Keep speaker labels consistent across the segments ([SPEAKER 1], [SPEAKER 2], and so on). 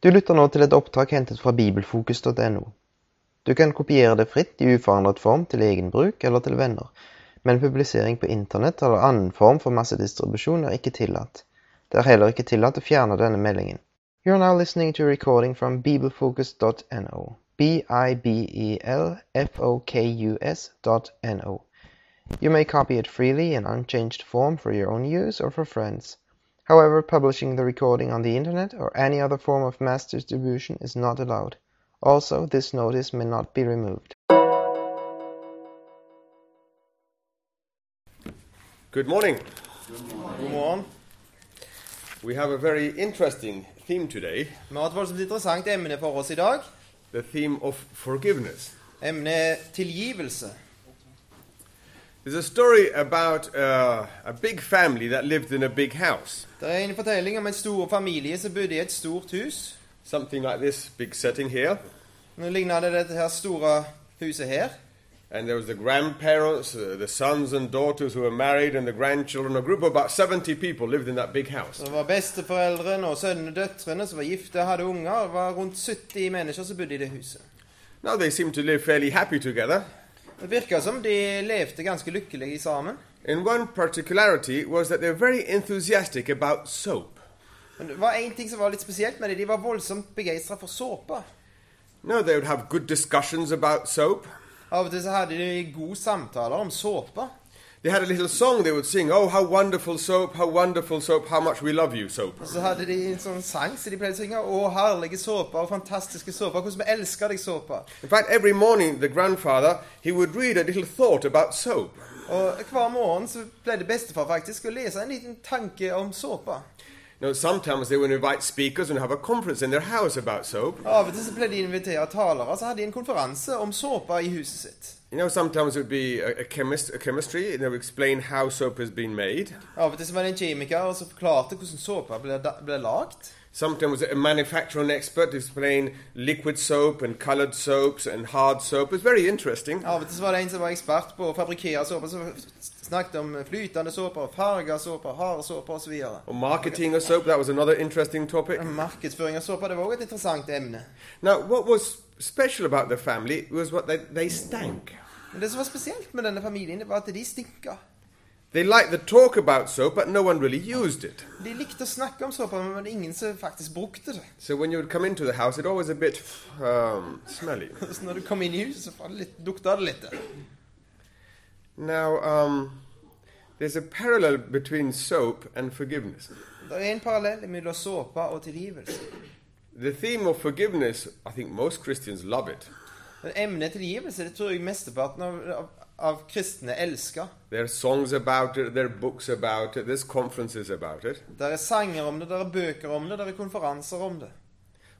[SPEAKER 1] Du lytter nå til et opptak hentet fra bibelfokus.no. Du kan kopiere det fritt i uforandret form til egen bruk eller til venner, men publisering på internett eller annen form for massedistribusjon er ikke tillatt. Det er heller ikke tillatt å fjerne denne meldingen. You are now listening to a recording from bibelfocus.no. E B-I-B-E-L-F-O-K-U-S dot N-O. You may copy it freely in unchanged form for your own use or for friends. However, publishing the recording on the internet or any other form of mass distribution is not allowed. Also, this notice may not be removed.
[SPEAKER 2] Good morning. God morgen. We have a very interesting theme today
[SPEAKER 1] Vi har et voldsomt interessant emne for oss i dag.
[SPEAKER 2] the theme of forgiveness.
[SPEAKER 1] Emnet er tilgivelse.
[SPEAKER 2] There's a story about uh, a big family that lived in a big house.
[SPEAKER 1] Det er en fortelling om en stor familie som bodde i et stort hus.
[SPEAKER 2] Something like this big setting here.
[SPEAKER 1] Nå ligner det dette her store huset her.
[SPEAKER 2] And there was the grandparents, uh, the sons and daughters who were married, and the grandchildren. A group of about 70 people lived in that big house.
[SPEAKER 1] Så det var besteforeldrene og sønnene og døtrene som var gifte, hadde unger. Det var rundt 70 mennesker som bodde i det huset.
[SPEAKER 2] Now they seemed to live fairly happy together.
[SPEAKER 1] Det virka som de levde ganske lykkelig sammen.
[SPEAKER 2] And one particularity was that they were very enthusiastic about soap.
[SPEAKER 1] Men det var en ting som var litt spesielt med det. De var voldsomt begeistra for såpe.
[SPEAKER 2] Now they would have good discussions about soap.
[SPEAKER 1] Av og til så hadde de gode samtaler om såpe.
[SPEAKER 2] They had a little song they would sing, Oh, how wonderful soap, how wonderful soap, how much we love you, soap.
[SPEAKER 1] Og så hadde de en sånn sang som de pleide å synge. Å, herlige såpe og fantastiske såpe. Hvordan vi elsker deg, såpe.
[SPEAKER 2] In fact, every morning the grandfather, he would read a little thought about soap.
[SPEAKER 1] Og hver morgen så pleide bestefar faktisk å lese en liten tanke om såpe.
[SPEAKER 2] You know, sometimes they would invite speakers and have a conference in their house about soap.
[SPEAKER 1] Av og til så pleide de å invitere talere, så hadde de en konferanse om såpe i huset sitt.
[SPEAKER 2] You know, sometimes it would be a, a chemist, a chemistry, and they would explain how soap has been made.
[SPEAKER 1] Av og til så var det en kjemiker og så forklarte hvordan såpe ble, da- ble laged.
[SPEAKER 2] Sometimes a manufacturer and expert explain liquid soap and colored soaps and hard soap. It's very interesting.
[SPEAKER 1] Av og til så var det en som var ekspert på å fabrikkere såpe, som snakket om flytende såper, farger såper, harde såper osv.
[SPEAKER 2] Or Oh, marketing of soap, that was another interesting topic.
[SPEAKER 1] Markedsføring av såper det var også et interessant emne.
[SPEAKER 2] Now, what was special about the family was what they, they stank.
[SPEAKER 1] Men det som var spesielt med denne familien, det var at de stinka.
[SPEAKER 2] They liked the talk about soap, but no one really used it.
[SPEAKER 1] De likte å snakke om såper, men det var ingen som faktisk brukte det.
[SPEAKER 2] So when you would come into the house, it always a bit um, smelly.
[SPEAKER 1] Så når du kom inn i huset, så var det litt, dukta det litt.
[SPEAKER 2] Now, um, there's a parallel between soap and forgiveness.
[SPEAKER 1] Det er en parallell mellom såpe og tilgivelse.
[SPEAKER 2] The theme of forgiveness, I think most Christians love it.
[SPEAKER 1] Men emnet tilgivelse det tror jeg mesteparten av, av, av kristne elsker.
[SPEAKER 2] There are songs about it, there are books about it, there's conferences about it.
[SPEAKER 1] Det er sanger om det, det er bøker om det, det er konferanser om det.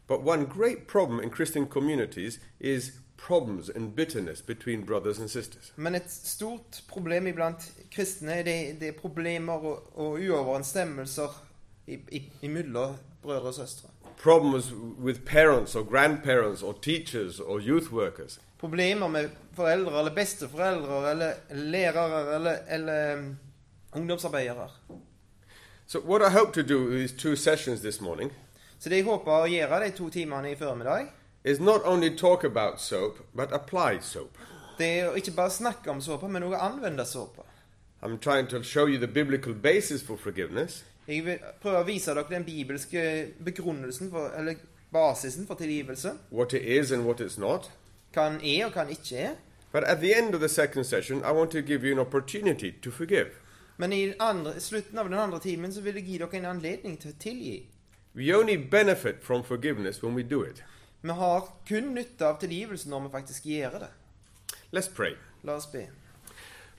[SPEAKER 2] But one great problem in Christian communities is problems and bitterness between brothers and sisters.
[SPEAKER 1] Men et stort problem iblant kristne det, det er problemer og, og uoverensstemmelser i- i- imellom brødre og søstre.
[SPEAKER 2] problems with parents or grandparents or teachers or youth workers.
[SPEAKER 1] Problemer med foreldre eller besteforeldre eller lærere eller, eller um, ungdomsarbeidere.
[SPEAKER 2] So, what I hope to do with these two sessions this morning
[SPEAKER 1] Så det jeg håper å gjøre de to timene i formiddag,
[SPEAKER 2] is not only talk about soap, but apply soap.
[SPEAKER 1] det er å ikke bare snakke om såpe, men også anvende såpe.
[SPEAKER 2] I'm trying to show you the biblical basis for forgiveness,
[SPEAKER 1] Jeg vil prøve å vise dere den bibelske begrunnelsen, for, eller basisen for tilgivelse.
[SPEAKER 2] what it is and what it's not.
[SPEAKER 1] Hva den er, og hva den ikke er.
[SPEAKER 2] But at the end of the second session, I want to give you an opportunity to forgive.
[SPEAKER 1] Men i den andre, i slutten av den andre timen så vil jeg gi dere en anledning til å tilgi.
[SPEAKER 2] We only benefit from forgiveness when we do it.
[SPEAKER 1] Vi har kun nytte av tilgivelse når vi faktisk gjør det.
[SPEAKER 2] Let's pray.
[SPEAKER 1] La oss be.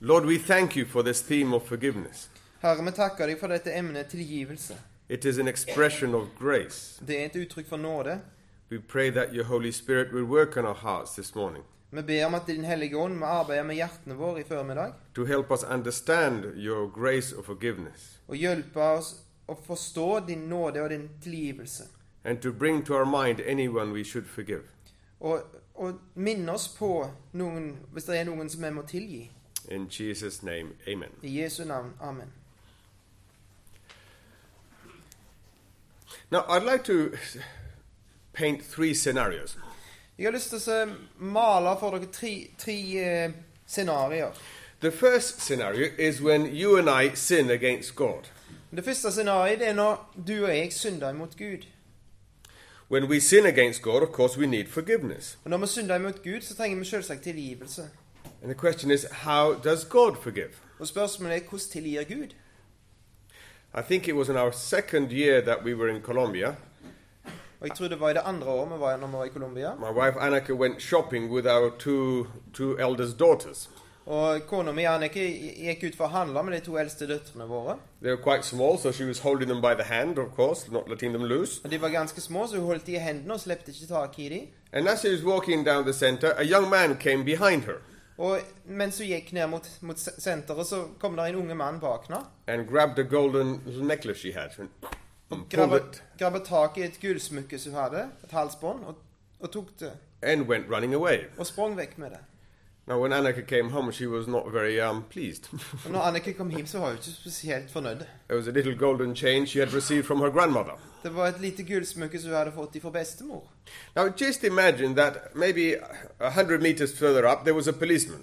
[SPEAKER 2] Lord, we thank you for this theme of forgiveness.
[SPEAKER 1] Herre, vi takker deg for dette emnet tilgivelse.
[SPEAKER 2] It is an expression of grace.
[SPEAKER 1] Det er et uttrykk for nåde.
[SPEAKER 2] We pray that your Holy Spirit will work on our hearts this morning
[SPEAKER 1] Vi ber om at Din Hellige Ånd må arbeide med hjertene våre i formiddag,
[SPEAKER 2] to help us understand your grace of forgiveness
[SPEAKER 1] og hjelpe oss å forstå din nåde og din tilgivelse.
[SPEAKER 2] and to bring to our mind anyone we should forgive.
[SPEAKER 1] Og, og minne oss på noen, hvis det er noen som vi må tilgi.
[SPEAKER 2] In Jesus' name, amen.
[SPEAKER 1] I Jesu navn. Amen.
[SPEAKER 2] Now, I'd like to paint three scenarios.
[SPEAKER 1] Jeg har lyst til å se- male for dere tre, tre eh, scenarioer.
[SPEAKER 2] The first scenario is when you and I sin against God.
[SPEAKER 1] Det første scenarioet det er når du og jeg synder imot Gud.
[SPEAKER 2] When we sin against God, of course, we need forgiveness.
[SPEAKER 1] Og når vi synder imot Gud, så trenger vi selvsagt tilgivelse.
[SPEAKER 2] And the question is, how does God forgive?
[SPEAKER 1] Og spørsmålet er hvordan tilgir Gud?
[SPEAKER 2] I think it was in our second year that we were in Colombia.
[SPEAKER 1] Og jeg tror det var i det andre året vi var når vi var i Colombia.
[SPEAKER 2] My wife Annika went shopping with our two, two eldest daughters.
[SPEAKER 1] Og kona mi Annike gikk ut for å handle med de to eldste døtrene våre.
[SPEAKER 2] They were quite small, so she was holding them by the hand, of course, not letting them loose.
[SPEAKER 1] Og De var ganske små, så hun holdt de i hendene og slepte ikke tak i dem.
[SPEAKER 2] And as she was walking down the center, a young man came behind her
[SPEAKER 1] Og mens hun gikk ned mot, mot se- senteret, så kom der en unge mann bak henne.
[SPEAKER 2] and grabbed a golden little necklace she had and, and pulled
[SPEAKER 1] Grabba
[SPEAKER 2] it
[SPEAKER 1] grabba tak i et gullsmykke som hun hadde, et halsbånd, og, og tok det.
[SPEAKER 2] and went running away.
[SPEAKER 1] Og sprang vekk med det.
[SPEAKER 2] Now, when Annika came home, she was not very um, pleased.
[SPEAKER 1] Og når Annike kom hjem, så var hun ikke spesielt fornøyd.
[SPEAKER 2] there was a little golden chain she had received from her grandmother.
[SPEAKER 1] Det var et lite gullsmykke som hun hadde fått fra bestemor.
[SPEAKER 2] Now, just imagine that maybe a hundred meters further up, there was a policeman.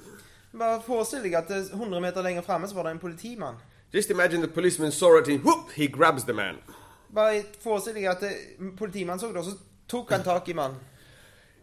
[SPEAKER 1] Bare forestill deg at eh, 100 meter lenger framme så var det en politimann.
[SPEAKER 2] Just imagine the policeman saw it and whoop, he grabs the man.
[SPEAKER 1] Bare forestill deg at eh, politimannen så det, og så tok han tak i mannen.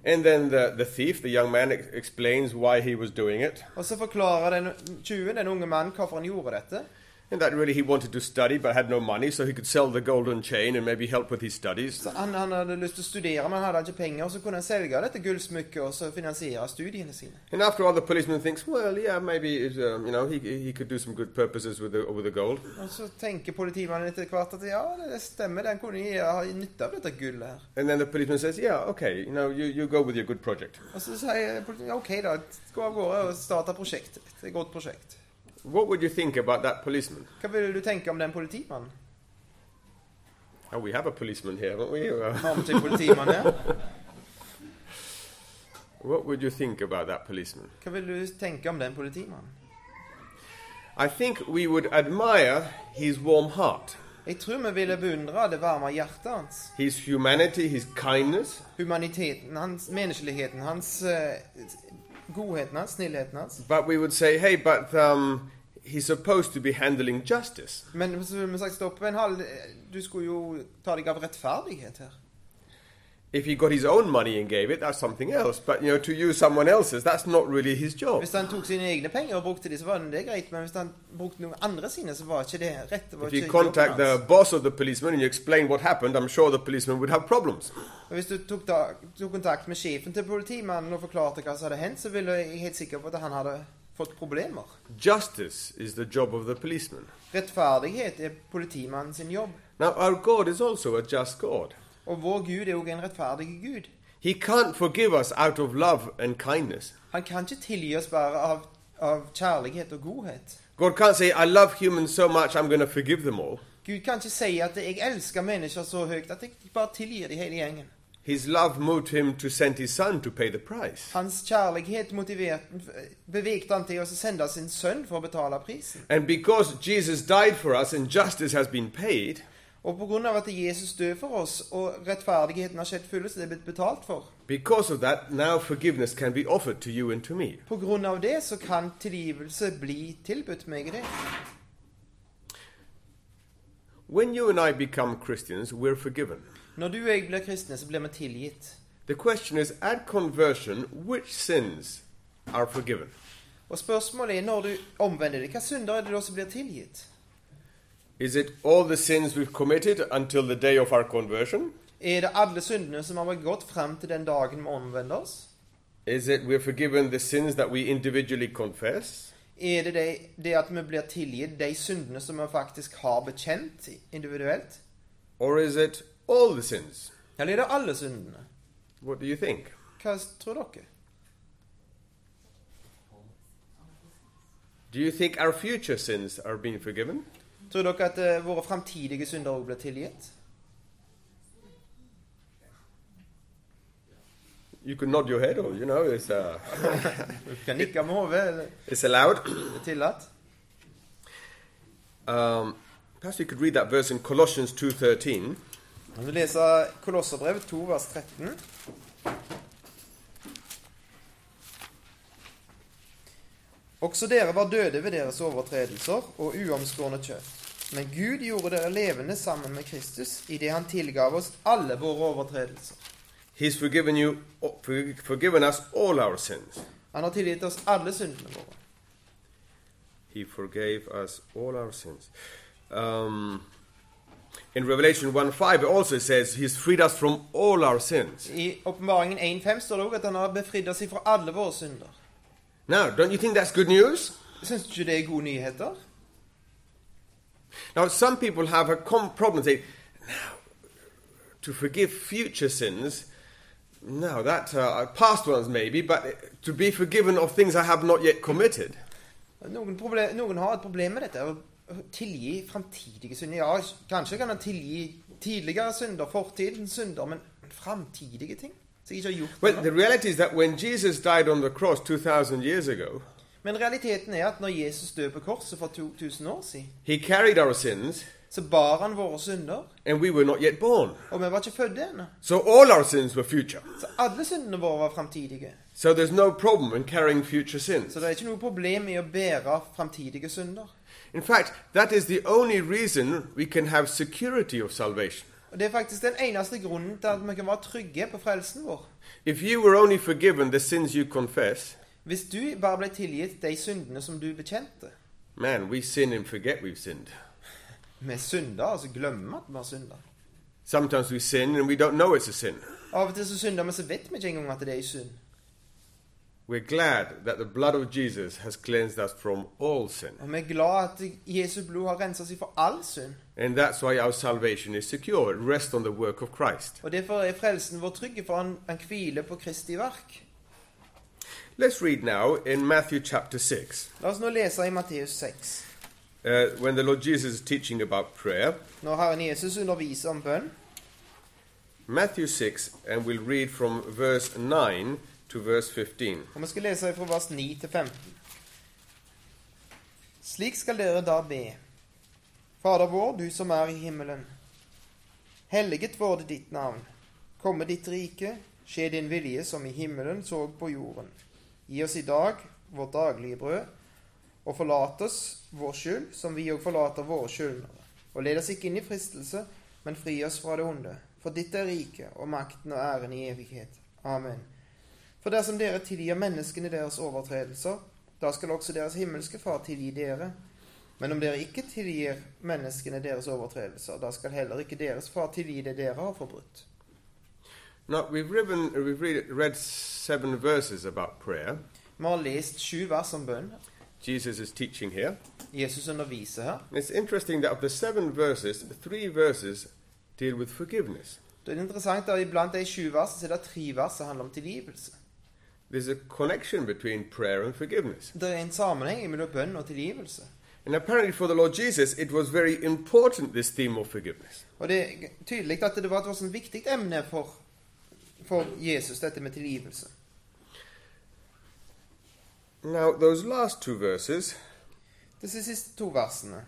[SPEAKER 2] And then the, the thief, the young man, ex- explains why he was doing it.
[SPEAKER 1] Og så forklarer den tjuven, den unge mannen, hvorfor han gjorde dette.
[SPEAKER 2] And that really he wanted to study but had no money, so he could sell the golden chain and maybe help with his studies.
[SPEAKER 1] Så han, han hadde lyst til å studere, men hadde ikke penger, og så kunne han selge dette gullsmykket og så finansiere studiene sine.
[SPEAKER 2] And after all, the policeman thinks, well, yeah, maybe it, um, you know he, he could do some good purposes with the, with the gold.
[SPEAKER 1] Og så tenker politimannen etter hvert at ja, det stemmer, den kunne jeg ha nytte av dette gullet her.
[SPEAKER 2] And then the policeman says, yeah, okay, you know, you, you go with your good project.
[SPEAKER 1] Og så sier politimannen ja, OK, da, gå av gårde og start et prosjekt. Et godt prosjekt.
[SPEAKER 2] What would you think about that policeman?
[SPEAKER 1] Hva ville du tenke om den politimannen?
[SPEAKER 2] Oh, we have a policeman here, haven't we? Uh,
[SPEAKER 1] Har vi ikke en politimann her?
[SPEAKER 2] What would you think about that policeman?
[SPEAKER 1] Hva ville du tenke om den politimannen?
[SPEAKER 2] I think we would admire his warm heart,
[SPEAKER 1] Jeg tror vi ville beundre det varme hjertet hans.
[SPEAKER 2] his humanity, his kindness,
[SPEAKER 1] humaniteten hans, menneskeligheten hans, eh, godheten hans, snillheten hans.
[SPEAKER 2] but we would say, hey, but um, he's supposed to be handling justice.
[SPEAKER 1] Men så vil vi sagt stopp en halv, eh, du skulle jo ta deg av rettferdighet her.
[SPEAKER 2] If he got his own money and gave it, that's something else. But you know, to use someone else's, that's not really his job.
[SPEAKER 1] Hvis han tok sine egne penger og brukte de, så var det greit, men hvis han brukte noen andre sine, så var ikke det rett. Det var
[SPEAKER 2] If you
[SPEAKER 1] ikke jobben
[SPEAKER 2] contact the
[SPEAKER 1] hans.
[SPEAKER 2] boss of the policeman and you explain what happened, I'm sure the policeman would have problems.
[SPEAKER 1] Og Hvis du tok, da, tok kontakt med sjefen til politimannen og forklarte hva som hadde hendt, så ville jeg helt sikker på at han hadde fått problemer.
[SPEAKER 2] Justice is the job of the policeman.
[SPEAKER 1] Rettferdighet er politimannen sin jobb,
[SPEAKER 2] Now, our God is also a just God.
[SPEAKER 1] og vår Gud er også en rettferdig Gud.
[SPEAKER 2] He can't forgive us out of love and kindness.
[SPEAKER 1] Han kan ikke tilgi oss bare av, av kjærlighet og godhet.
[SPEAKER 2] God can't say, I love humans so much, I'm going to forgive them all.
[SPEAKER 1] Gud kan ikke si at 'jeg elsker mennesker så høyt at jeg bare tilgir de hele gjengen'.
[SPEAKER 2] His love moved him to send his son to pay the price.
[SPEAKER 1] Hans kjærlighet motiverte, bevegte han til å sende sin sønn for å betale prisen.
[SPEAKER 2] And because Jesus died for us and justice has been paid,
[SPEAKER 1] Og pga. at Jesus døde for oss, og rettferdigheten har skjedd fyllest, det er blitt betalt for,
[SPEAKER 2] because of that, now forgiveness can be offered to you and to me.
[SPEAKER 1] pga. det så kan tilgivelse bli tilbudt meg i det.
[SPEAKER 2] When you and I become Christians, we're forgiven.
[SPEAKER 1] Når du og jeg blir kristne, så blir vi tilgitt.
[SPEAKER 2] The question is, at conversion, which sins are forgiven?
[SPEAKER 1] Og spørsmålet er når du omvender deg, hva synder er det da som blir tilgitt?
[SPEAKER 2] Is it all the sins we've committed until the day of our conversion?
[SPEAKER 1] Er det alle syndene som har vært gått frem til den dagen vi omvender oss?
[SPEAKER 2] Is it we're forgiven the sins that we individually confess?
[SPEAKER 1] Er det det, det at vi blir tilgitt de syndene som vi faktisk har bekjent individuelt?
[SPEAKER 2] Or is it all the sins?
[SPEAKER 1] Eller er det alle syndene?
[SPEAKER 2] What do you think?
[SPEAKER 1] Hva tror dere?
[SPEAKER 2] Do you think our future sins are being forgiven?
[SPEAKER 1] Tror dere at eh, våre framtidige synder også blir tilgitt?
[SPEAKER 2] You can nod your head, or you know, it's, uh,
[SPEAKER 1] Du kan nikke med hodet. eller
[SPEAKER 2] it's allowed.
[SPEAKER 1] er det Tillatt.
[SPEAKER 2] Um, perhaps you could read that verse in Colossians two thirteen.
[SPEAKER 1] Jeg vil lese Kolosserbrevet 2, vers 13. Også dere var døde ved deres overtredelser og uomskårne kjøtt. Men Gud gjorde dere levende sammen med Kristus idet han tilgav oss alle våre overtredelser.
[SPEAKER 2] He's forgiven you, forgiven us all our sins.
[SPEAKER 1] Han har tilgitt oss alle syndene våre.
[SPEAKER 2] He forgave us all our sins. Um, in Revelation 1 5, it also says He's freed us from all our sins.
[SPEAKER 1] I Åpenbaringen 1.5 står det òg at han har befridd oss ifra alle våre synder.
[SPEAKER 2] Now, don't you think that's good news?
[SPEAKER 1] Syns du ikke det er gode nyheter?
[SPEAKER 2] Now, some people have a com- problem saying, now, to forgive future sins, no, that uh, past ones maybe, but uh, to be forgiven of things I have not yet committed.
[SPEAKER 1] Noen, proble- noen har et problem med dette. Å tilgi framtidige synder. Ja, kanskje kan han tilgi tidligere synder, fortidens synder, men framtidige ting som jeg ikke har gjort
[SPEAKER 2] Well,
[SPEAKER 1] ennå.
[SPEAKER 2] the reality is that when Jesus died on the cross 2,000 years ago,
[SPEAKER 1] Men realiteten er at når Jesus døde på korset for 2000 år siden,
[SPEAKER 2] he carried our sins
[SPEAKER 1] så bar han våre synder,
[SPEAKER 2] and we were not yet born.
[SPEAKER 1] og vi var ikke født ennå.
[SPEAKER 2] So all our sins were future.
[SPEAKER 1] Så alle syndene våre var framtidige.
[SPEAKER 2] So there's no problem in carrying future sins.
[SPEAKER 1] Så det er ikke noe problem i å bære framtidige synder.
[SPEAKER 2] In fact, that is the only reason we can have security of salvation.
[SPEAKER 1] Og Det er faktisk den eneste grunnen til at vi kan være trygge på frelsen vår.
[SPEAKER 2] If you were only forgiven the sins you confess,
[SPEAKER 1] Hvis du bare ble tilgitt de syndene som du bekjente.
[SPEAKER 2] Man, we sin and forget we've sinned.
[SPEAKER 1] Vi synder, altså glemmer at vi har synda.
[SPEAKER 2] Sometimes we sin and we don't know it's a sin.
[SPEAKER 1] Av og til så synder vi så vet vi ikke engang at det er synd.
[SPEAKER 2] We're glad that the blood of Jesus has cleansed us from all sin.
[SPEAKER 1] Og vi er glad at Jesu blod har renset oss for all synd.
[SPEAKER 2] And that's why our salvation is secure. It rests on the work of Christ.
[SPEAKER 1] Og derfor er frelsen vår trygg, for han, han hviler på Kristi verk.
[SPEAKER 2] Let's read now in Matthew chapter 6,
[SPEAKER 1] La oss nå lese i Matteus 6.
[SPEAKER 2] uh, when the Lord Jesus is teaching about prayer.
[SPEAKER 1] Når Herren Jesus underviser om bønn,
[SPEAKER 2] Matthew 6, and we'll read from verse 9 to verse 15.
[SPEAKER 1] og vi skal lese fra vers 9 til 15. Slik skal dere da be. Fader vår, du som er i himmelen. Helliget vorde ditt navn. Komme ditt rike. Skje din vilje som i himmelen så på jorden. Gi oss i dag vårt daglige brød, og forlat oss vår skyld som vi òg forlater våre skyldnere. Og led oss ikke inn i fristelse, men fri oss fra det onde. For ditt er riket og makten og æren i evighet. Amen. For dersom dere tilgir menneskene deres overtredelser, da skal også deres himmelske Far tilgi dere. Men om dere ikke tilgir menneskene deres overtredelser, da skal heller ikke deres far tilgi det dere har forbrutt.
[SPEAKER 2] Now, we've, ribbon, we've read, read seven verses about prayer.
[SPEAKER 1] Vi har lest sju vers om bønn.
[SPEAKER 2] Jesus is teaching here.
[SPEAKER 1] Jesus underviser her.
[SPEAKER 2] It's interesting that of the seven verses, three verses deal with forgiveness.
[SPEAKER 1] Det er interessant at iblant de sju versene så er det tre vers som handler om tilgivelse.
[SPEAKER 2] There's a connection between prayer and forgiveness.
[SPEAKER 1] Det er en sammenheng mellom bønn og tilgivelse.
[SPEAKER 2] And apparently, for the Lord Jesus, it was very important this theme of forgiveness.
[SPEAKER 1] Og det er tydelig at det var et sånn viktig emne for, for Jesus, dette med tilgivelse.
[SPEAKER 2] Now, those last two verses
[SPEAKER 1] Disse siste to versene.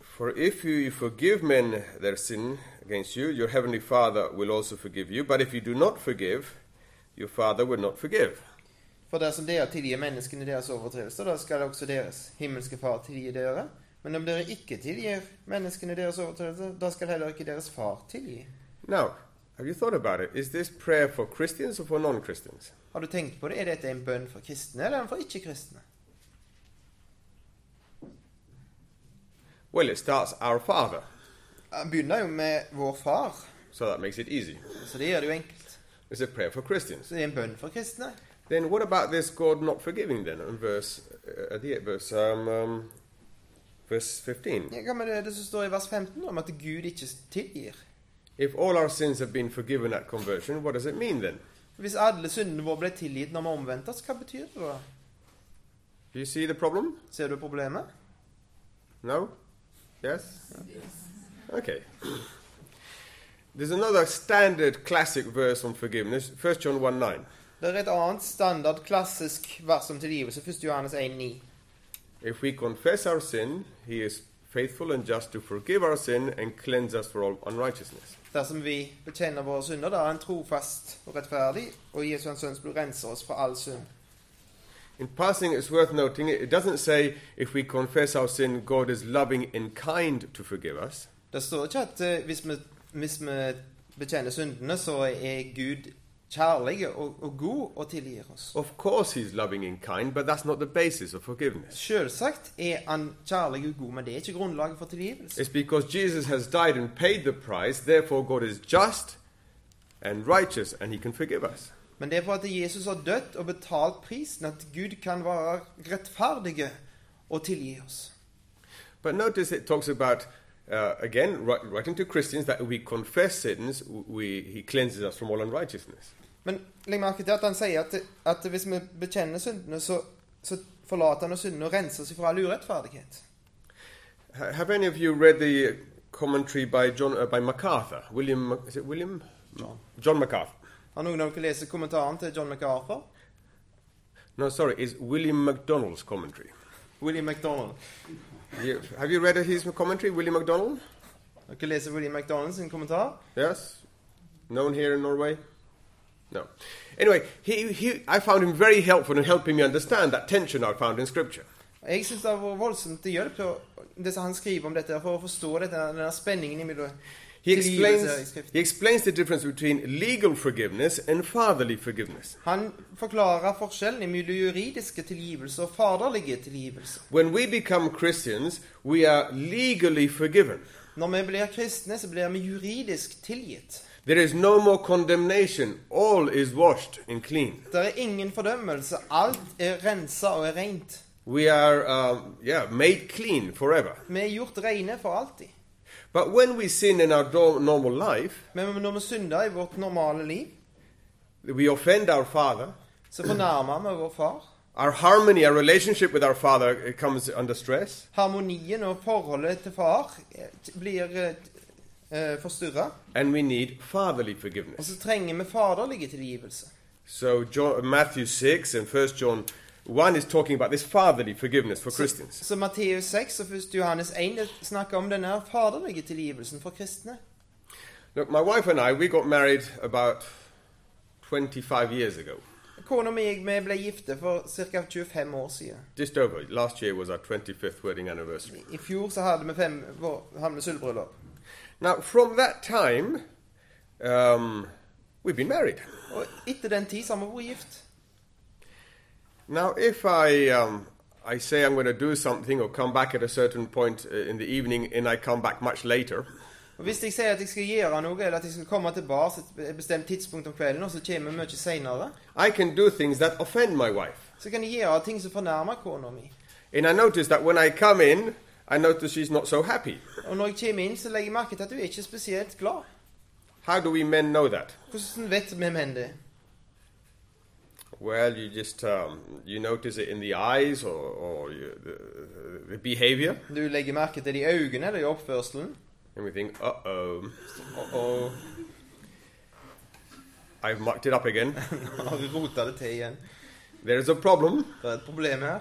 [SPEAKER 2] For if you forgive men their sin against you, your heavenly Father will also forgive you. But if you do not forgive, your Father will not forgive.
[SPEAKER 1] For dersom dere tilgir menneskene deres overtredelser, da skal også deres himmelske far tilgi dere. Men om dere ikke tilgir menneskene deres overtredelser, da skal heller ikke deres far tilgi.
[SPEAKER 2] Now, have you thought about it? Is this prayer for Christians or for non Christians?
[SPEAKER 1] Har du tenkt på det? Er dette en bønn for kristne, eller en for ikke-kristne?
[SPEAKER 2] Well, it starts Our Father,
[SPEAKER 1] Han begynner jo med vår far,
[SPEAKER 2] so that makes it easy.
[SPEAKER 1] så det gjør det jo enkelt.
[SPEAKER 2] It's a prayer for Christians.
[SPEAKER 1] Så det er en bønn for kristne.
[SPEAKER 2] Then what about this God not forgiving then in verse uh, at the end, verse um, um, verse 15?
[SPEAKER 1] Ja, Hva med det, det som står i vers 15 om at Gud ikke tilgir?
[SPEAKER 2] If all our sins have been forgiven at conversion, what does it mean then?
[SPEAKER 1] Hvis alle syndene våre ble tilgitt når vi omvendte oss, hva betyr det da?
[SPEAKER 2] Do you see the problem?
[SPEAKER 1] Ser du problemet?
[SPEAKER 2] No? Yes? Okay. There's another standard classic verse on forgiveness, 1 John 1 9.
[SPEAKER 1] Det er et annet standard klassisk vers om tilgivelse, 1. Johannes 1,9.
[SPEAKER 2] If we confess our sin, he is faithful and just to forgive our sin and cleanse us from all unrighteousness.
[SPEAKER 1] Dersom vi bekjenner våre synder, da er han trofast og rettferdig, og Jesu hans sønns blod renser oss fra all synd.
[SPEAKER 2] In passing, it's worth noting it doesn't say if we confess our sin, God is loving and kind to forgive us.
[SPEAKER 1] Det står ikke at eh, hvis vi, hvis vi bekjenner syndene, så er Gud kjærlig og, og god og tilgir oss.
[SPEAKER 2] Of course, He's loving and kind, but that's not the basis of forgiveness.
[SPEAKER 1] Selvsagt er han kjærlig og god, men det er ikke grunnlaget for tilgivelse.
[SPEAKER 2] It's because Jesus has died and paid the price, therefore, God is just and righteous and He can forgive us.
[SPEAKER 1] Men det er for at Jesus har dødd og betalt prisen, at Gud kan være rettferdig og tilgi oss.
[SPEAKER 2] But notice it talks about, uh, again, wri- writing to Christians that we confess sins, we, He cleanses us from all unrighteousness.
[SPEAKER 1] Men legg merke til at han sier at, at hvis vi bekjenner syndene, så, så forlater han oss syndene og renser oss fra all urettferdighet.
[SPEAKER 2] Ha- Have any of you read the commentary by John uh, by MacArthur? William Mac- is it William?
[SPEAKER 1] John.
[SPEAKER 2] John MacArthur.
[SPEAKER 1] Har noen av dere lest kommentaren til John MacArthur?
[SPEAKER 2] No, sorry, it's William MacDonald's commentary.
[SPEAKER 1] William MacDonald.
[SPEAKER 2] You, have you read his commentary, William MacDonald?
[SPEAKER 1] Dere leser William MacDonald sin kommentar?
[SPEAKER 2] Yes, known here in Norway. No. Anyway, he, he, I found him very helpful in helping me understand that tension I found in Scripture.
[SPEAKER 1] Jeg syns det har vært voldsomt til hjelp å- det som han skriver om dette, for å forstå dette, denne spenningen imellom
[SPEAKER 2] He
[SPEAKER 1] tilgivelse i
[SPEAKER 2] explains,
[SPEAKER 1] Skriften.
[SPEAKER 2] he explains the difference between legal forgiveness and fatherly forgiveness.
[SPEAKER 1] Han forklarer forskjellen mellom juridiske tilgivelse og faderlige tilgivelse.
[SPEAKER 2] When we become Christians, we are legally forgiven.
[SPEAKER 1] Når vi blir kristne, så blir vi juridisk tilgitt.
[SPEAKER 2] There is no more condemnation. All is washed and clean.
[SPEAKER 1] Det er ingen fordømmelse. Alt er rensa og er rent.
[SPEAKER 2] We are, um, yeah, made clean forever.
[SPEAKER 1] Vi er gjort rene for alltid.
[SPEAKER 2] But when we sin in our do- normal life,
[SPEAKER 1] Men når vi synder i vårt normale liv,
[SPEAKER 2] we offend our Father.
[SPEAKER 1] så fornærmer vi vår far.
[SPEAKER 2] Our harmony, our relationship with our Father uh, comes under stress.
[SPEAKER 1] Harmonien og forholdet til far eh, t- blir eh, forstyrra.
[SPEAKER 2] And we need fatherly
[SPEAKER 1] Og
[SPEAKER 2] forgiveness.
[SPEAKER 1] så trenger vi faderlige tilgivelse.
[SPEAKER 2] So John, Matthew 6 and 1 John 1 is talking about this fatherly forgiveness for
[SPEAKER 1] Så,
[SPEAKER 2] Christians.
[SPEAKER 1] så Matteus 6 og 1. Johannes 1 det snakker om denne her faderlige tilgivelsen for kristne.
[SPEAKER 2] Look, my wife and I, we got married about 25 years ago.
[SPEAKER 1] Kona mi og jeg vi ble gifte for ca. 25 år siden.
[SPEAKER 2] Just over. Last year was our 25th wedding anniversary.
[SPEAKER 1] I fjor så hadde vi fem vår- hadde vi sølvbryllup.
[SPEAKER 2] Now, from that time, um, we've been married.
[SPEAKER 1] Og etter den tid så har vi vært gift.
[SPEAKER 2] Now, if I um, I say I'm going to do something or come back at a certain point uh, in the evening, and I come back much later,
[SPEAKER 1] Og Hvis jeg sier at jeg skal gjøre noe, eller at jeg skal komme tilbake til et bestemt tidspunkt om kvelden, og så kommer vi mye seinere,
[SPEAKER 2] I can do things that offend my wife.
[SPEAKER 1] så kan jeg gjøre ting som fornærmer kona mi.
[SPEAKER 2] And I notice that when I come in, I notice she's not so happy.
[SPEAKER 1] Og når jeg kommer inn, så legger jeg merke til at hun er ikke spesielt glad.
[SPEAKER 2] How do we men know that?
[SPEAKER 1] Hvordan vet vi menn det?
[SPEAKER 2] Well, you just um, you notice it in the eyes or, or you, the, the behavior,
[SPEAKER 1] Du legger merke til det i øynene eller i oppførselen.
[SPEAKER 2] and we think, uh oh, uh oh. I've mucked it up again.
[SPEAKER 1] Har du rota det til igjen?
[SPEAKER 2] There is a problem,
[SPEAKER 1] Det er et problem her.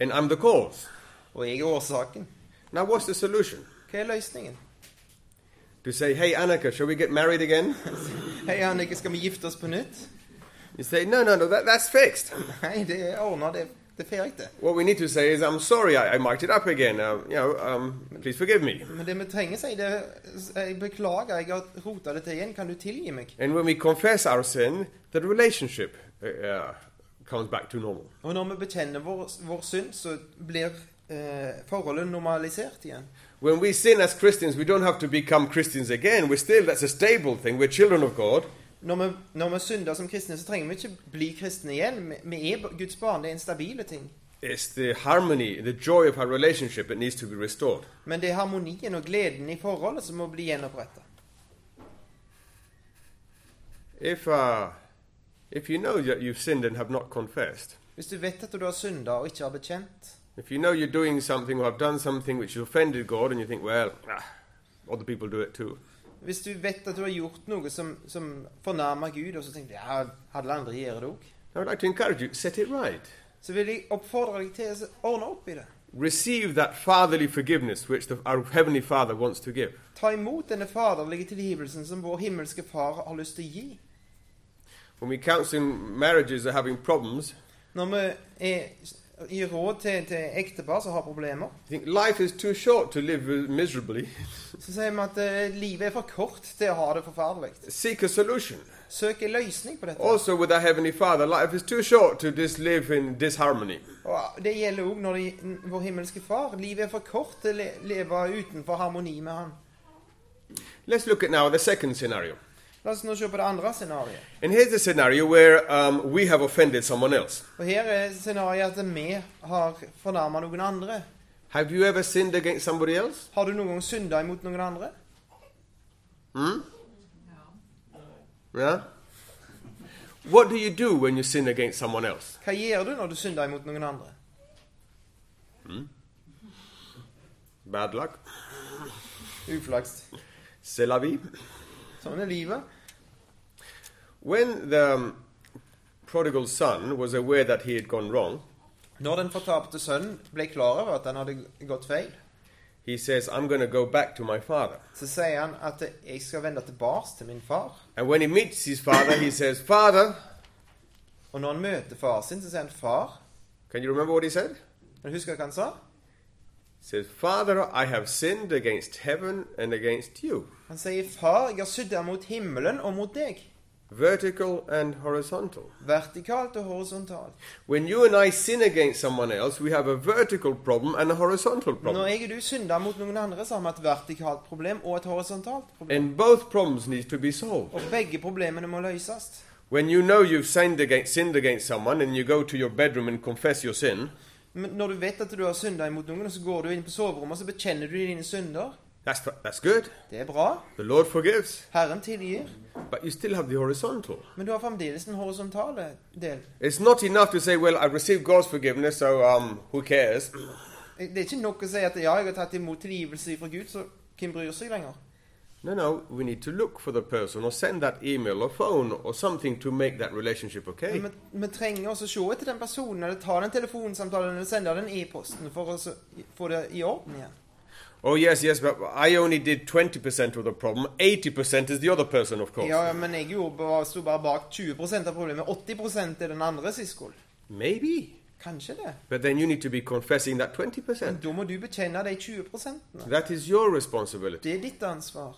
[SPEAKER 2] and I'm the cause.
[SPEAKER 1] Og jeg er årsaken.
[SPEAKER 2] Now, what's the solution?
[SPEAKER 1] Hva er løsningen?
[SPEAKER 2] To say, hey, Annika, shall we get married again?
[SPEAKER 1] Hei, Annike, skal vi gifte oss på nytt?
[SPEAKER 2] You say, no, no, no, that, that's fixed.
[SPEAKER 1] Nei, det er ordna. Det, det er ferdig, det.
[SPEAKER 2] What we need to say is, I'm sorry, I, I mucked it up again. Uh, you know, um, please forgive me.
[SPEAKER 1] Men det vi trenger, sier det Jeg beklager, jeg har rota det til igjen. Kan du tilgi meg?
[SPEAKER 2] And when we confess our sin, the relationship uh, uh, comes back to normal.
[SPEAKER 1] Og når vi bekjenner vår, vår synd, så blir eh, forholdet normalisert igjen.
[SPEAKER 2] When we sin as Christians, we don't have to become Christians again. We're still, that's a stable thing. We're children of God.
[SPEAKER 1] Når vi, når vi synder som kristne, så trenger vi ikke bli kristne igjen. Vi, vi er Guds barn. Det er en stabile ting.
[SPEAKER 2] It's the harmony, the joy of our relationship that needs to be restored.
[SPEAKER 1] Men det er harmonien og gleden i forholdet som må bli gjenoppretta.
[SPEAKER 2] If, uh, if you know that you've sinned and have not confessed,
[SPEAKER 1] Hvis du vet at du har synda og ikke har bekjent,
[SPEAKER 2] If you know you're doing something or have done something which has offended God and you think, well, ah, other people do it too,
[SPEAKER 1] hvis du vet at du har gjort noe som, som fornærmer Gud, og så tenker du ja, hadde andre gjøre det òg,
[SPEAKER 2] I would like to encourage you, set it right.
[SPEAKER 1] så vil jeg oppfordre deg til å ordne opp i det.
[SPEAKER 2] receive that fatherly forgiveness which the, our Heavenly Father wants to give.
[SPEAKER 1] Ta imot denne faderlige tilgivelsen som vår himmelske far har lyst til å gi.
[SPEAKER 2] When we counseling marriages that are having problems,
[SPEAKER 1] Når vi er, gir råd til, til ektepar som har problemer,
[SPEAKER 2] I think life is too short to live miserably.
[SPEAKER 1] så sier vi at eh, livet er for kort til å ha det forferdelig.
[SPEAKER 2] Seek a solution.
[SPEAKER 1] Søk en løsning på dette.
[SPEAKER 2] Also, with our Heavenly Father, life is too short to just live in disharmony.
[SPEAKER 1] Og ah, det gjelder òg når de, vår himmelske far. Livet er for kort til å le- leve utenfor harmoni med han.
[SPEAKER 2] Let's look at now the second scenario.
[SPEAKER 1] La oss nå se på det andre scenarioet.
[SPEAKER 2] And here's a scenario where um, we have offended someone else.
[SPEAKER 1] Og her er scenarioet at vi har fornærma noen andre.
[SPEAKER 2] Have you ever sinned against somebody else?
[SPEAKER 1] Har du noen gang synda imot noen andre?
[SPEAKER 2] Yeah? What do you do when you sin against someone else?
[SPEAKER 1] Hva gjør du når du synder imot noen andre?
[SPEAKER 2] Bad luck.
[SPEAKER 1] Uflaks.
[SPEAKER 2] C'est la vie.
[SPEAKER 1] Sånn er livet.
[SPEAKER 2] When the um, prodigal son was aware that he had gone wrong,
[SPEAKER 1] Når den fortapte sønnen ble klar over at han hadde gått feil,
[SPEAKER 2] he says, I'm going to go back to my father.
[SPEAKER 1] så sier han at 'jeg skal vende tilbake til min far'.
[SPEAKER 2] And when he meets his father, he says, Father,
[SPEAKER 1] Og når han møter far sin, så sier han 'far'.
[SPEAKER 2] can you remember what he said?
[SPEAKER 1] Men husker du hva han sa?
[SPEAKER 2] He says, Father, I have sinned against heaven and against you,
[SPEAKER 1] Han sier 'far, jeg har sydda mot himmelen og mot deg'.
[SPEAKER 2] vertical and horizontal.
[SPEAKER 1] Vertikalt og horisontalt.
[SPEAKER 2] When you and I sin against someone else, we have a vertical problem and a horizontal
[SPEAKER 1] Når
[SPEAKER 2] problem.
[SPEAKER 1] jeg og du synder mot noen andre, så har vi et vertikalt problem og et horisontalt problem.
[SPEAKER 2] And both problems need to be solved.
[SPEAKER 1] Og begge problemene må løses.
[SPEAKER 2] When you know you've sinned against, sinned against someone and you go to your bedroom and confess your sin,
[SPEAKER 1] Men når du vet at du har synda imot noen, og så går du inn på soverommet og så bekjenner du dine synder.
[SPEAKER 2] that's, fi- that's good.
[SPEAKER 1] Det er bra.
[SPEAKER 2] The Lord forgives.
[SPEAKER 1] Herren tilgir.
[SPEAKER 2] But you still have the horizontal.
[SPEAKER 1] Men du har fremdeles den horisontale del.
[SPEAKER 2] It's not enough to say, well, I received God's forgiveness, so um, who cares?
[SPEAKER 1] Det er ikke nok å si at ja, jeg har tatt imot tilgivelse fra Gud, så hvem bryr seg lenger?
[SPEAKER 2] No, no, we need to look for the person or send that email or phone or something to make that relationship okay.
[SPEAKER 1] Men vi, vi trenger også å se etter den personen, eller ta den telefonsamtalen, eller sende den e-posten for å så- få det i orden igjen.
[SPEAKER 2] Oh, yes, yes, but I only did 20% of the problem. 80% is the other person, of course.
[SPEAKER 1] Ja, ja, men jeg gjorde bare, sto bare bak 20 av problemet. 80 er den andres i skuld.
[SPEAKER 2] Maybe.
[SPEAKER 1] Kanskje det.
[SPEAKER 2] But then you need to be confessing that 20%.
[SPEAKER 1] Da må du bekjenne de 20
[SPEAKER 2] That is your responsibility.
[SPEAKER 1] Det er ditt ansvar.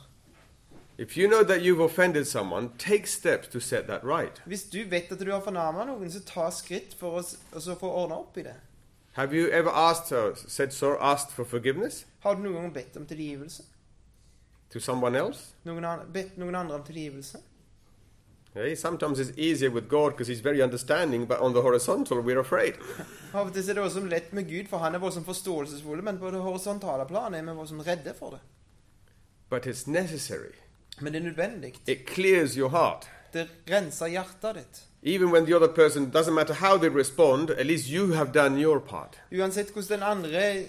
[SPEAKER 2] If you know that you've offended someone, take steps to set that right.
[SPEAKER 1] Hvis du vet at du har fornærma noen, så ta skritt for å s- og så få ordna opp i det.
[SPEAKER 2] Have you ever asked, uh, said, sir, asked for forgiveness
[SPEAKER 1] Har du noen gang bedt om tilgivelse?
[SPEAKER 2] to someone else?
[SPEAKER 1] Noen an bedt noen andre om tilgivelse?
[SPEAKER 2] Hey, Eh, sometimes it's easier with God because He's very understanding, but on the horizontal, we're afraid.
[SPEAKER 1] Av og til så er det også lett med Gud, for han er voldsomt forståelsesfull, men på det horisontale planet er vi voldsomt redde for det.
[SPEAKER 2] But it's necessary.
[SPEAKER 1] Men det er nødvendig.
[SPEAKER 2] It clears your heart.
[SPEAKER 1] Det renser hjertet ditt.
[SPEAKER 2] Even when the other person doesn't matter how they respond, at least you have done your part.
[SPEAKER 1] Uansett hvordan den andre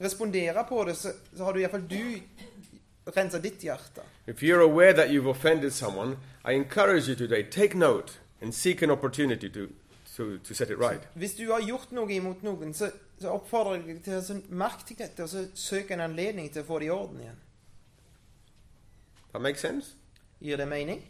[SPEAKER 1] responderer på det, så, så har du iallfall du rensa ditt hjerte.
[SPEAKER 2] If you're aware that you've offended someone, I encourage you today, take note and seek an opportunity to, to, to set it right.
[SPEAKER 1] Hvis du har gjort noe imot noen, så, så oppfordrer jeg deg til å så merke deg dette, og så søk en anledning til å få det i orden igjen.
[SPEAKER 2] That makes sense?
[SPEAKER 1] Gir det mening?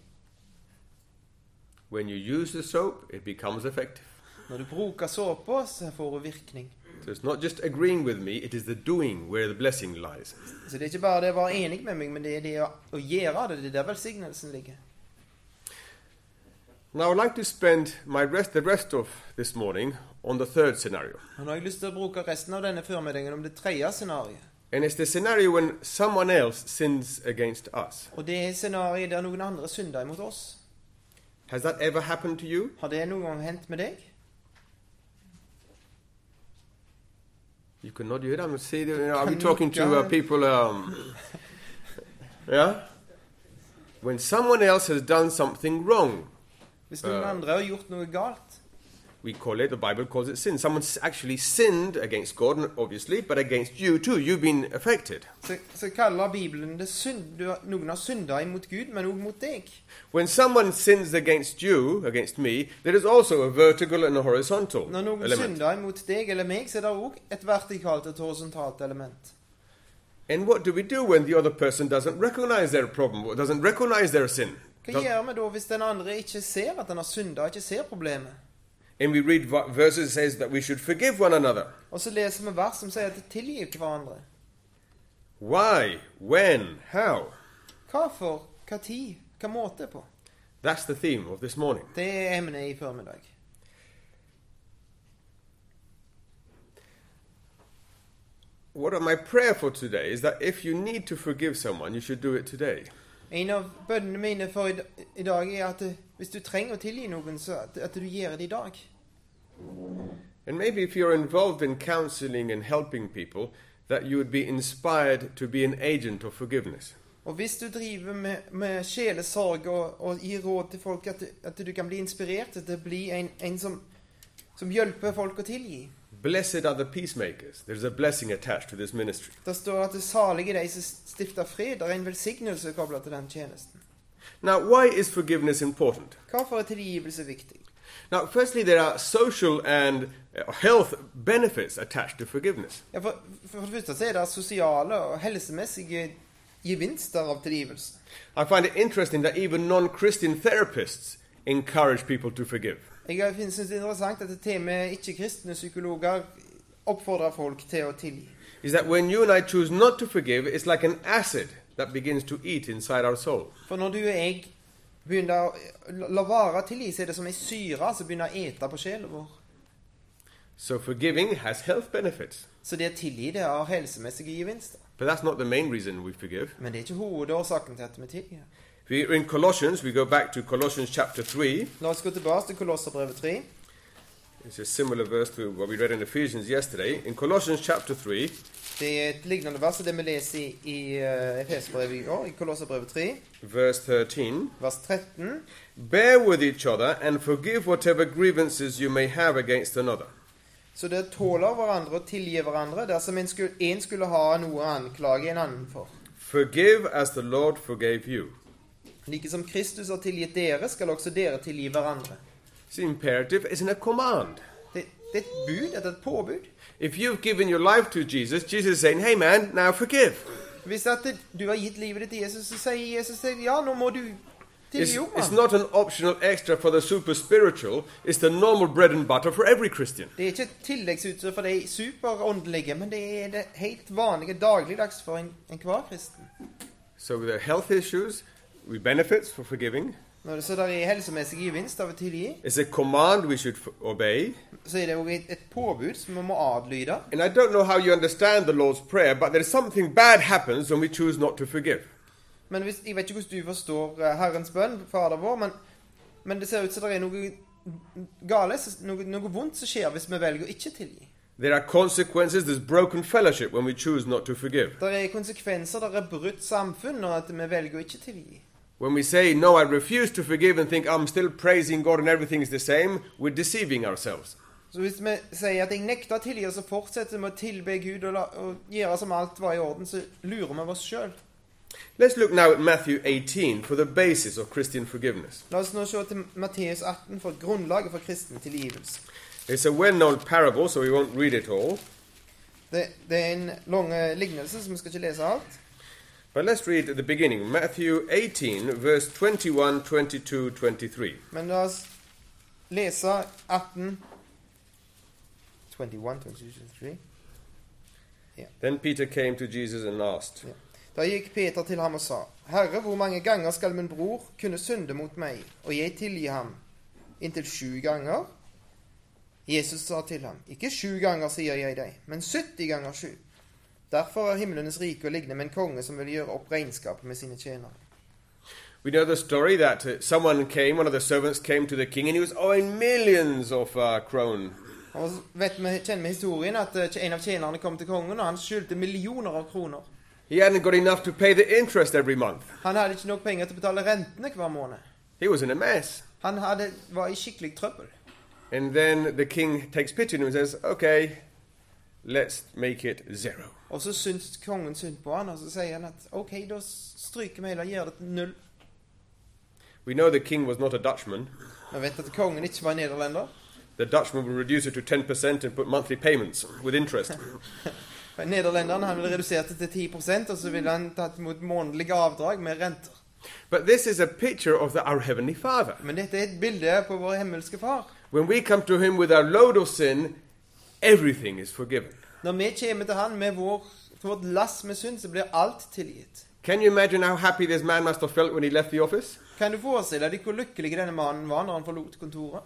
[SPEAKER 2] When you use the soap, it becomes effective.
[SPEAKER 1] Når du bruker såpa, så får hun virkning.
[SPEAKER 2] So it's not just agreeing with me, it is the doing where the blessing lies.
[SPEAKER 1] Så det er ikke bare det å være enig med meg, men det er det å, å gjøre det. Det er der velsignelsen ligger.
[SPEAKER 2] Now, I would like to spend my rest, the rest of this morning on the third scenario.
[SPEAKER 1] Og nå har jeg lyst til å bruke resten av denne formiddagen om det tredje scenarioet.
[SPEAKER 2] And it's the scenario when someone else sins against us.
[SPEAKER 1] Og det er scenarioet der noen andre synder imot oss.
[SPEAKER 2] Has that ever happened to you?
[SPEAKER 1] Har det noen gang hendt med deg?
[SPEAKER 2] You cannot do it. I'm see. You know, are we talking to uh, people? Um, yeah. When someone else has done something wrong,
[SPEAKER 1] Hvis noen
[SPEAKER 2] Eh.
[SPEAKER 1] andre har gjort noe galt,
[SPEAKER 2] we call it, the Bible calls it sin. Someone's actually sinned against God, obviously, but against you too. You've been affected.
[SPEAKER 1] Så, så kaller Bibelen det synd, du har- noen har synda imot Gud, men òg mot deg.
[SPEAKER 2] When someone sins against you, against me, there is also a vertical and a horizontal
[SPEAKER 1] Når noen
[SPEAKER 2] element.
[SPEAKER 1] synder imot deg eller meg, så er det òg et vertikalt og et horisontalt element.
[SPEAKER 2] And what do we do when the other person doesn't recognize their problem, or doesn't recognize their sin?
[SPEAKER 1] Hva
[SPEAKER 2] Does-
[SPEAKER 1] gjør vi da hvis den andre ikke ser at den har synda, ikke ser problemet?
[SPEAKER 2] and we read v- verses that says that we should forgive one another.
[SPEAKER 1] Og så leser vi vers som sier at de tilgir hverandre.
[SPEAKER 2] Why? When? How?
[SPEAKER 1] Hva for? Hva tid? Hva måte på?
[SPEAKER 2] That's the theme of this morning.
[SPEAKER 1] Det er emnet i formiddag.
[SPEAKER 2] What are my prayer for today is that if you need to forgive someone, you should do it today.
[SPEAKER 1] En av bønnene mine for i d- i dag er at eh, hvis du trenger å tilgi noen, så at, at du gjør det i dag.
[SPEAKER 2] And maybe if you're involved in counseling and helping people, that you would be inspired to be an agent of forgiveness.
[SPEAKER 1] Og hvis du driver med, med sjelesorg og, og gir råd til folk, at, du- at du kan bli inspirert til å bli en, en som, som hjelper folk å tilgi.
[SPEAKER 2] Blessed are the peacemakers. There's a blessing attached to this ministry.
[SPEAKER 1] Der står det at det salige er de som stifter fred. Det er en velsignelse koblet til den tjenesten.
[SPEAKER 2] Now, why is forgiveness important?
[SPEAKER 1] Hvorfor er tilgivelse viktig?
[SPEAKER 2] Now, firstly, there are social and uh, health benefits attached to forgiveness.
[SPEAKER 1] Ja, for, for det første så er det sosiale og helsemessige gevinster av tilgivelse.
[SPEAKER 2] I find it interesting that even non Christian therapists encourage people to forgive.
[SPEAKER 1] Jeg synes det er interessant at til og med ikke-kristne psykologer oppfordrer folk til å tilgi.
[SPEAKER 2] Is that when you and I choose not to forgive, it's like an acid that begins to eat inside our soul.
[SPEAKER 1] For når du og jeg begynner å la- la være å tilgi, så er det som ei syre som begynner å ete på sjela vår.
[SPEAKER 2] So, forgiving has health benefits.
[SPEAKER 1] Så det å tilgi, det har helsemessige gevinster.
[SPEAKER 2] But that's not the main reason we forgive.
[SPEAKER 1] Men det er ikke hovedårsaken til at vi tilgir.
[SPEAKER 2] We're in Colossians, we go back to Colossians chapter 3.
[SPEAKER 1] La oss gå tilbake til Kolosserbrevet 3.
[SPEAKER 2] It's a similar verse to what we read in Ephesians yesterday. In Colossians chapter 3,
[SPEAKER 1] Det er et lignende vers som det vi leser i, i eh, Efeserbrevet i går, i Kolosserbrevet 3,
[SPEAKER 2] verse 13,
[SPEAKER 1] vers 13.
[SPEAKER 2] bear with each other and forgive whatever grievances you may have against another.
[SPEAKER 1] Så dere tåler hverandre og tilgir hverandre dersom en skulle, en skulle ha noe å anklage en annen for.
[SPEAKER 2] Forgive as the Lord forgave you.
[SPEAKER 1] Like som Kristus har tilgitt dere, skal også dere tilgi hverandre.
[SPEAKER 2] It's imperative, it's in a command.
[SPEAKER 1] Det, det er et bud, det er et påbud.
[SPEAKER 2] If you've given your life to Jesus, Jesus is saying, hey man, now forgive.
[SPEAKER 1] Hvis at det- du har gitt livet ditt til Jesus, så sier Jesus til deg, ja, nå må du
[SPEAKER 2] It's,
[SPEAKER 1] tilgi jo,
[SPEAKER 2] it's
[SPEAKER 1] mann.
[SPEAKER 2] not an optional extra for the super spiritual, it's the normal bread and butter for every Christian.
[SPEAKER 1] Det er ikke et tilleggsutstyr for de superåndelige, men det er det helt vanlige dagligdags for en- enhver kristen.
[SPEAKER 2] So there are health issues, we benefits for forgiving.
[SPEAKER 1] Når det, så der er helsemessig gevinst av å tilgi,
[SPEAKER 2] It's a command we should f- obey.
[SPEAKER 1] så er det òg et, et påbud som vi må adlyde.
[SPEAKER 2] And I don't know how you understand the Lord's Prayer, but there's something bad happens when we choose not to forgive.
[SPEAKER 1] Men hvis, Jeg vet ikke hvordan du forstår eh, Herrens bønn, Fader vår, men, men det ser ut som det er noe gale, så- noe, noe vondt som skjer hvis vi velger å ikke tilgi.
[SPEAKER 2] There are consequences, there's broken fellowship when we choose not to forgive.
[SPEAKER 1] Det er konsekvenser, det er brutt samfunn når at vi velger å ikke tilgi.
[SPEAKER 2] When we say, No, I refuse to forgive, and think I'm still praising God and everything is the same, we're deceiving ourselves.
[SPEAKER 1] Så hvis vi sier at 'jeg nekter å tilgi', og så fortsetter vi å tilbe Gud og, la, og gjøre som alt var i orden, så lurer vi oss sjøl.
[SPEAKER 2] Let's look now at Matthew 18 for the basis of Christian forgiveness.
[SPEAKER 1] La oss nå se til Matteus 18 for grunnlaget for kristen tilgivelse.
[SPEAKER 2] It's a well known parable, so we won't read it all.
[SPEAKER 1] Det, det er en lang eh, lignelse, så vi skal ikke lese alt.
[SPEAKER 2] But let's read at the beginning Matthew 18, verse 21, 22, 23.
[SPEAKER 1] Men la oss lese 18 21, 22, 23.
[SPEAKER 2] Then Peter came to Jesus and asked,
[SPEAKER 1] Ja. Da gikk Peter til ham og sa, Herre, hvor mange ganger skal min bror kunne synde mot meg, og jeg tilgi ham? Inntil sju ganger? Jesus sa til ham, ikke sju ganger sier jeg deg, men 70 ganger sju. Derfor er himlenes rike å ligne med en konge som vil gjøre opp regnskapet med sine tjenere.
[SPEAKER 2] We know the story that uh, someone came, one of the servants came to the king, and he was owing millions of uh, krone.
[SPEAKER 1] Og så vet vi, kjenner vi historien at eh, en av tjenerne kom til kongen, og han skyldte millioner av kroner.
[SPEAKER 2] He hadn't got enough to pay the interest every month.
[SPEAKER 1] Han hadde ikke nok penger til å betale rentene hver måned.
[SPEAKER 2] He was in a mess.
[SPEAKER 1] Han hadde, var i skikkelig trøbbel.
[SPEAKER 2] And then the king takes pity on him and says, okay, let's make it zero.
[SPEAKER 1] Og så syns kongen synd på han, og så sier han at OK, da stryker vi hele og gjør det til null.
[SPEAKER 2] We know the king was not a Dutchman.
[SPEAKER 1] Vi vet at kongen ikke var nederlender.
[SPEAKER 2] The Dutchman will reduce it to 10% and put monthly payments with interest.
[SPEAKER 1] For Nederlenderen han ville redusert det til 10 og så ville han tatt imot månedlige avdrag med renter.
[SPEAKER 2] but this is a picture of the, our Heavenly Father.
[SPEAKER 1] Men dette er et bilde på vår himmelske far.
[SPEAKER 2] When we come to him with our load of sin, everything is forgiven.
[SPEAKER 1] Når vi kommer til han med vår, til vårt lass med synd, så blir alt tilgitt.
[SPEAKER 2] Can you imagine how happy this man must have felt when he left the office?
[SPEAKER 1] Kan du forestille deg hvor lykkelig denne mannen var når han forlot kontoret?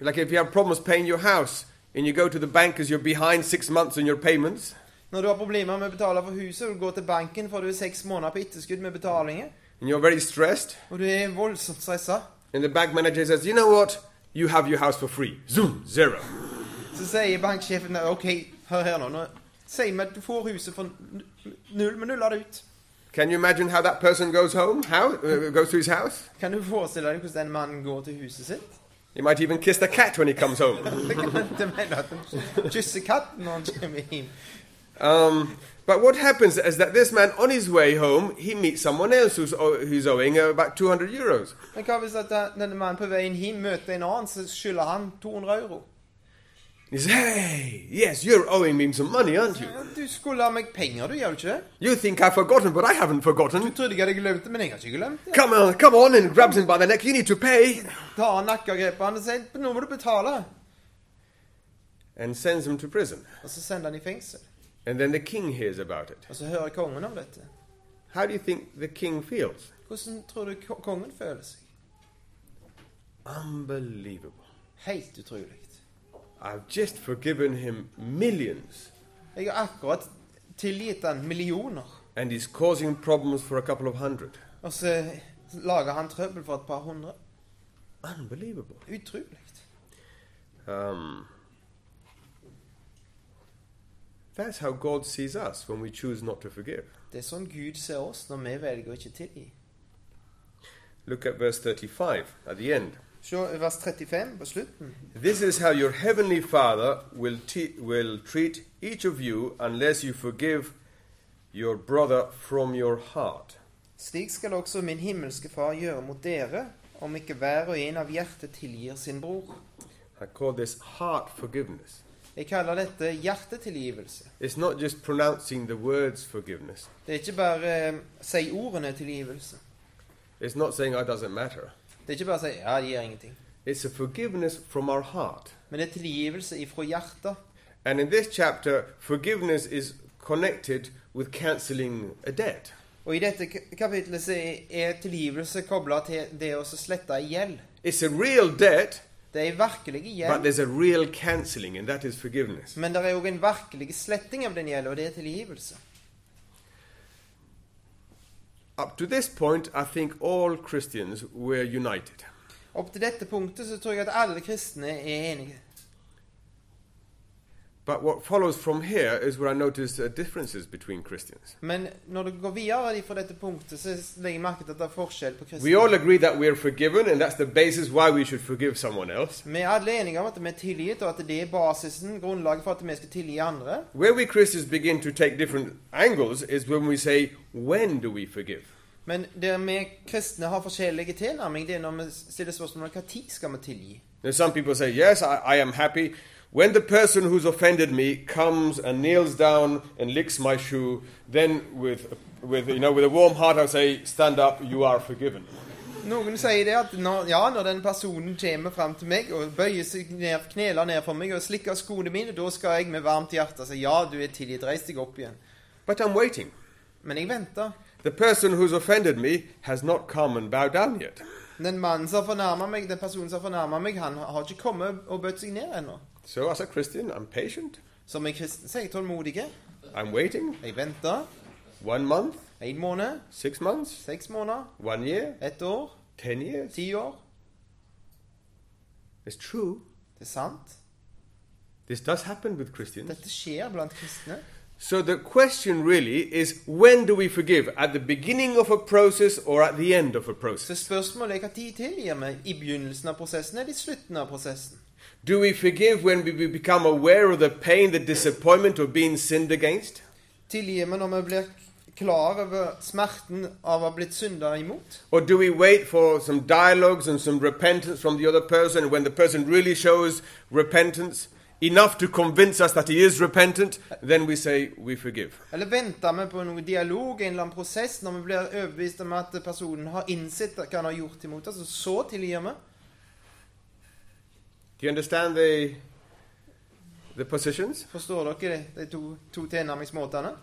[SPEAKER 2] Like if you have problems paying your house and you go to the bank because you're behind six months on your payments,
[SPEAKER 1] Når du har problemer med å betale for huset, og du går til banken for du er seks måneder på etterskudd med betalinger,
[SPEAKER 2] and you're very stressed,
[SPEAKER 1] og du er voldsomt stressa,
[SPEAKER 2] and the bank manager says, you know what? You have your house for free. Zoom, zero.
[SPEAKER 1] så sier banksjefen OK, hør her nå. nå Si meg at du får huset for n- null, men nuller det ut.
[SPEAKER 2] Can you imagine how that person goes home? How? Uh, goes to his house?
[SPEAKER 1] Kan du forestille deg hvordan den mannen går til huset sitt?
[SPEAKER 2] He might even kiss the cat when he comes home.
[SPEAKER 1] Så kan du mene at han kysser katten når han kommer hjem.
[SPEAKER 2] Um, but what happens is that this man, on his way home, he meets someone else who's, o- who's owing uh, about 200 euros.
[SPEAKER 1] Men hva hvis at den- denne mannen på veien hjem møter en annen, så skylder han 200 euro?
[SPEAKER 2] He says, hey, yes, you're owing me some money, aren't you?
[SPEAKER 1] Ja, Du skulle ha meg penger, du, gjør du ikke det?
[SPEAKER 2] You think I've forgotten, but I haven't forgotten.
[SPEAKER 1] Jeg trodde jeg hadde glemt det, men jeg har ikke glemt det.
[SPEAKER 2] Come on, come on, and grabs him by the neck. You need to pay.
[SPEAKER 1] Da har han nakkegrepet han og sier nå må du betale.
[SPEAKER 2] And sends him to prison.
[SPEAKER 1] Og så sender han i fengsel.
[SPEAKER 2] And then the king hears about it.
[SPEAKER 1] Og så hører kongen om dette.
[SPEAKER 2] How do you think the king feels?
[SPEAKER 1] Hvordan tror du ko- kongen føler seg?
[SPEAKER 2] Unbelievable.
[SPEAKER 1] Helt utrolig.
[SPEAKER 2] I've just forgiven him millions,
[SPEAKER 1] Jeg har akkurat tilgitt han millioner,
[SPEAKER 2] and he's causing problems for a couple of hundred.
[SPEAKER 1] og så lager han trøbbel for et par hundre.
[SPEAKER 2] Unbelievable.
[SPEAKER 1] Utrolig.
[SPEAKER 2] Um, that's how God sees us when we choose not to forgive.
[SPEAKER 1] Det er sånn Gud ser oss når vi velger å ikke tilgi.
[SPEAKER 2] Look at verse 35 at the end.
[SPEAKER 1] Se vers 35 på slutten.
[SPEAKER 2] This is how your heavenly Father will, te- will treat each of you unless you forgive your brother from your heart.
[SPEAKER 1] Slik skal også min himmelske far gjøre mot dere, om ikke hver og en av hjertet tilgir sin bror.
[SPEAKER 2] I call this heart forgiveness.
[SPEAKER 1] Jeg kaller dette hjertetilgivelse.
[SPEAKER 2] It's not just pronouncing the words forgiveness.
[SPEAKER 1] Det er ikke bare eh, si ordene tilgivelse.
[SPEAKER 2] It's not saying, oh, it doesn't matter.
[SPEAKER 1] Det er ikke bare si 'ja, det gjør ingenting'.
[SPEAKER 2] It's a forgiveness from our heart.
[SPEAKER 1] Men det er tilgivelse ifra hjertet.
[SPEAKER 2] And in this chapter, forgiveness is connected with cancelling a debt.
[SPEAKER 1] Og i dette ka- kapitlet så er- er tilgivelse kobla til det å så slette en gjeld.
[SPEAKER 2] It's a real debt,
[SPEAKER 1] Det er en virkelig
[SPEAKER 2] but
[SPEAKER 1] gjeld,
[SPEAKER 2] there's a real cancelling, and that is forgiveness.
[SPEAKER 1] men det er òg en virkelig sletting av den gjelden, og det er tilgivelse.
[SPEAKER 2] Up to this point, I think all Christians were united.
[SPEAKER 1] Opp til dette punktet så tror jeg at alle kristne er enige.
[SPEAKER 2] But what follows from here is where I noticed uh, differences between Christians.
[SPEAKER 1] Men når du går videre fra dette punktet, så legger jeg merke til at det er forskjell på
[SPEAKER 2] We all
[SPEAKER 1] kristne.
[SPEAKER 2] agree that we are forgiven, and that's the basis why we should forgive someone else.
[SPEAKER 1] Vi er alle enige om at vi er tilgitt, og at det er basisen, grunnlaget for at vi skal tilgi andre.
[SPEAKER 2] Where we Christians begin to take different angles is when we say, when do we forgive?
[SPEAKER 1] Men der vi kristne har forskjellige tilnærming, det er når vi stiller spørsmål om hva tid skal vi tilgi.
[SPEAKER 2] Now, some people say, yes, I, I am happy. When the person who's offended me comes and kneels down and licks my shoe, then with, with, you know, with a warm heart I say, stand up, you are forgiven.
[SPEAKER 1] Noen sier det at når, ja, når den personen kommer fram til meg og bøyer seg ned, kneler ned for meg og slikker skoene mine, da skal jeg med varmt hjerte si ja, du er tilgitt, reis deg opp igjen.
[SPEAKER 2] But I'm waiting.
[SPEAKER 1] Men jeg venter.
[SPEAKER 2] The person who's offended me has not come and bowed down yet.
[SPEAKER 1] Den mannen som har fornærmet meg, den personen som har fornærmet meg, han har ikke kommet og bøtt seg ned ennå.
[SPEAKER 2] So, as a Christian, I'm patient.
[SPEAKER 1] Som er kristen, så er jeg tålmodig.
[SPEAKER 2] I'm waiting.
[SPEAKER 1] Jeg venter.
[SPEAKER 2] One month,
[SPEAKER 1] En måned,
[SPEAKER 2] six months,
[SPEAKER 1] seks måneder,
[SPEAKER 2] one year,
[SPEAKER 1] ett år,
[SPEAKER 2] ten years.
[SPEAKER 1] ti år.
[SPEAKER 2] It's true.
[SPEAKER 1] Det er sant.
[SPEAKER 2] This does happen with Christians.
[SPEAKER 1] Dette skjer blant kristne.
[SPEAKER 2] So the question really is when do we forgive? At the beginning of a process or at the end of a
[SPEAKER 1] Så
[SPEAKER 2] process?
[SPEAKER 1] spørsmålet er hva tid tilgir vi? I begynnelsen av prosessen eller i slutten av prosessen?
[SPEAKER 2] Do we forgive when we we become aware of the pain, the disappointment of being sinned against?
[SPEAKER 1] Tilgir vi når vi blir klar over smerten av å ha blitt synda imot?
[SPEAKER 2] Or do we wait for some dialogues and some repentance from the other person when the person really shows repentance, enough to convince us that he is repentant, then we say we forgive?
[SPEAKER 1] Eller venter vi på noe dialog, en eller annen prosess, når vi blir overbevist om at personen har innsett hva han har gjort imot oss, og så tilgir vi?
[SPEAKER 2] Do you understand the, the positions?
[SPEAKER 1] Forstår dere de, de to, to tilnærmingsmåtene?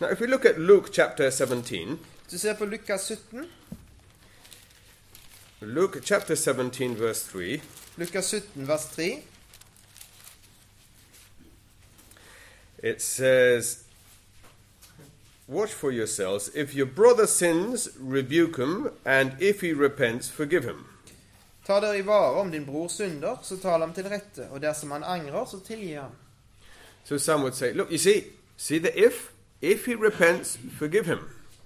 [SPEAKER 2] Now, if we look at Luke chapter 17,
[SPEAKER 1] Hvis du ser på Lukas 17,
[SPEAKER 2] Luke chapter 17, verse 3,
[SPEAKER 1] Lukas 17 vers 3,
[SPEAKER 2] it says, Watch for yourselves. If your brother sins, rebuke him, and if he repents, forgive him.
[SPEAKER 1] Ta dere i vare om din bror synder, så tal ham til rette, og dersom han angrer, så tilgi ham.
[SPEAKER 2] So some would say, Look, you see, see the if? If he repents, forgive him.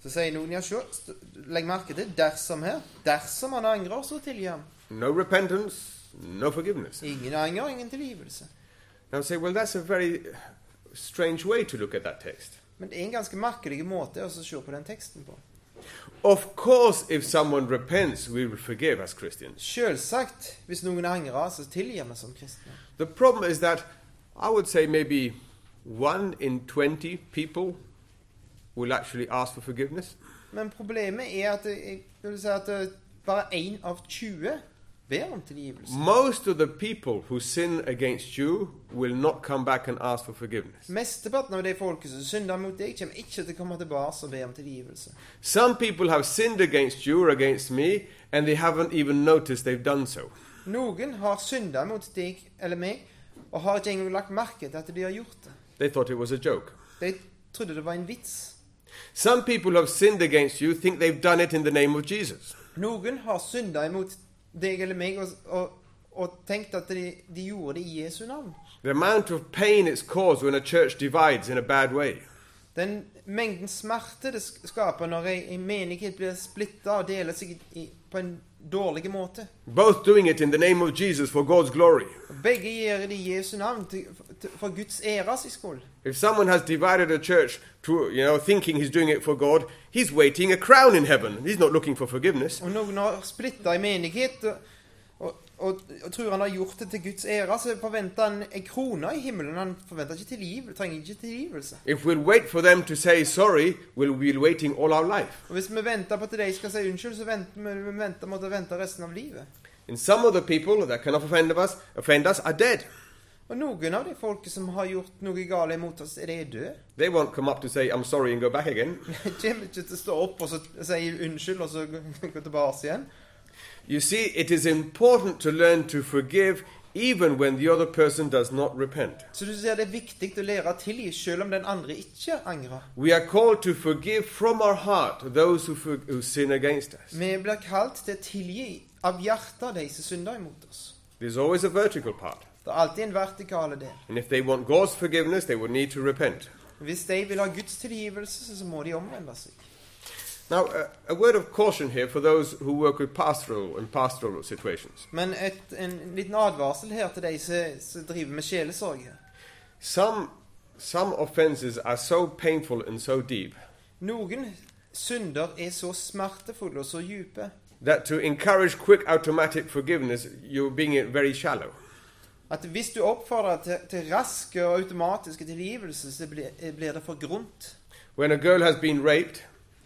[SPEAKER 1] Så sier noen ja, sjå, st- legg merke til dersom her. Dersom han angrer, så tilgi ham.
[SPEAKER 2] No repentance, no forgiveness.
[SPEAKER 1] Ingen anger, ingen tilgivelse.
[SPEAKER 2] Now say, well, that's a very strange way to look at that text.
[SPEAKER 1] Men det er en ganske merkelig måte å så se på den teksten på.
[SPEAKER 2] Of course, if someone repents, we will forgive as Christians.
[SPEAKER 1] Selvsagt, hvis noen angrer, så tilgir vi som kristne.
[SPEAKER 2] The problem is that I would say maybe one in 20 people will actually ask for forgiveness.
[SPEAKER 1] Men problemet er at, det- jeg vil si at det bare én av 20 ber om tilgivelse.
[SPEAKER 2] Most of the people who sin against you will not come back and ask for forgiveness.
[SPEAKER 1] Mesteparten av de folket som synder mot deg, kommer ikke til å komme tilbake og be om tilgivelse.
[SPEAKER 2] Some people have sinned against you or against me, and they haven't even noticed they've done so.
[SPEAKER 1] Noen har synda mot deg eller meg, og har ikke engang lagt merke til at de har gjort det.
[SPEAKER 2] They thought it was a joke.
[SPEAKER 1] De trodde det var en vits.
[SPEAKER 2] Some people who have sinned against you think they've done it in the name of Jesus.
[SPEAKER 1] Noen har synda imot deg eller meg og, og, og tenkt at de, de gjorde det i Jesu navn.
[SPEAKER 2] The amount of pain it's caused when a church divides in a bad way.
[SPEAKER 1] Den mengden smerte det sk- skaper når ei ei menighet blir splitta og deler seg i, på en dårlig måte.
[SPEAKER 2] Both doing it in the name of Jesus for God's glory.
[SPEAKER 1] Begge gjør det i Jesu navn, til, til, for Guds æres skyld.
[SPEAKER 2] If someone has divided a church to, you know, thinking he's doing it for God, he's waiting a crown in heaven. He's not looking for forgiveness.
[SPEAKER 1] Og noen har splitta ei menighet og, og, og, og tror han har gjort det til Guds ære, så forventer han ei krone i himmelen. Han forventer ikke tilgivelse, trenger ikke tilgivelse.
[SPEAKER 2] If we'll wait for them to say sorry, we'll be waiting all our life.
[SPEAKER 1] Og hvis vi venter på at de skal si unnskyld, så venter vi, vi venter, måtte vente resten av livet.
[SPEAKER 2] And some of the people that cannot offend of us, offend us are dead.
[SPEAKER 1] Og noen av de folket som har gjort noe galt imot oss, de er døde.
[SPEAKER 2] They won't come up to say, I'm sorry, and go back again.
[SPEAKER 1] De kommer ikke til å stå opp og så si unnskyld, og så gå gå tilbake igjen.
[SPEAKER 2] You see, it is important to learn to forgive even when the other person does not repent.
[SPEAKER 1] Så du ser det er viktig å lære å tilgi selv om den andre ikke angrer.
[SPEAKER 2] We are called to forgive from our heart those who, for- who sin against us.
[SPEAKER 1] Vi blir kalt til å tilgi av hjertet de som synder imot oss.
[SPEAKER 2] There's always a vertical part.
[SPEAKER 1] Det er alltid en vertikale del.
[SPEAKER 2] And if they want God's forgiveness, they will need to repent.
[SPEAKER 1] Hvis de vil ha Guds tilgivelse, så- så må de omvende seg.
[SPEAKER 2] Now, uh, a word of caution here for those who work with pastoral and pastoral situations.
[SPEAKER 1] Men et, en liten advarsel her til de som, som driver med sjelesorg. her.
[SPEAKER 2] Some, some offenses are so painful and so deep
[SPEAKER 1] Noen synder er så smertefulle og så dype
[SPEAKER 2] that to encourage quick automatic forgiveness, you're being very shallow.
[SPEAKER 1] at hvis du oppfordrer til, til raske og automatiske tilgivelser, så blir, eh, blir det for grunt.
[SPEAKER 2] When a girl has been raped,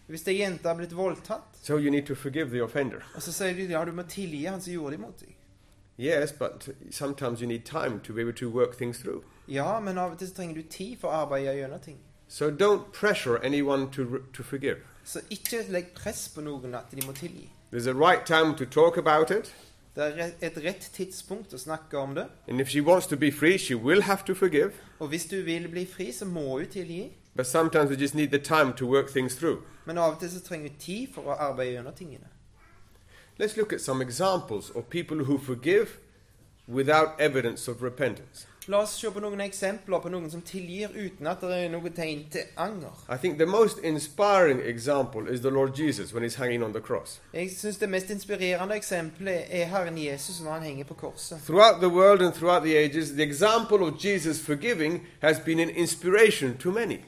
[SPEAKER 1] Hvis ei jente har blitt voldtatt,
[SPEAKER 2] so you need to forgive the offender.
[SPEAKER 1] og så sier de ja, du må tilgi han som gjorde det imot deg.
[SPEAKER 2] Yes, but sometimes you need time to be able to work things through.
[SPEAKER 1] Ja, men av og til så trenger du tid for å arbeide gjennom ting.
[SPEAKER 2] So don't pressure anyone to, re- to forgive.
[SPEAKER 1] Så ikke legg press på noen at de må tilgi.
[SPEAKER 2] There's a right time to talk about it,
[SPEAKER 1] Det er re- et rett tidspunkt å snakke om det.
[SPEAKER 2] and if she wants to be free, she will have to forgive.
[SPEAKER 1] Og hvis du vil bli fri, så må du tilgi.
[SPEAKER 2] But sometimes we just need the time to work things through.
[SPEAKER 1] Men av og til så trenger du tid for å arbeide gjennom tingene.
[SPEAKER 2] Let's look at some examples of people who forgive without evidence of repentance.
[SPEAKER 1] La oss se på noen eksempler på noen som tilgir uten at det er noe tegn til anger.
[SPEAKER 2] I think the most inspiring example is the Lord Jesus when he's hanging on the cross.
[SPEAKER 1] Jeg syns det mest inspirerende eksempelet er Herren Jesus når han henger på korset.
[SPEAKER 2] Throughout the world and throughout the ages, the example of Jesus forgiving has been an inspiration to many.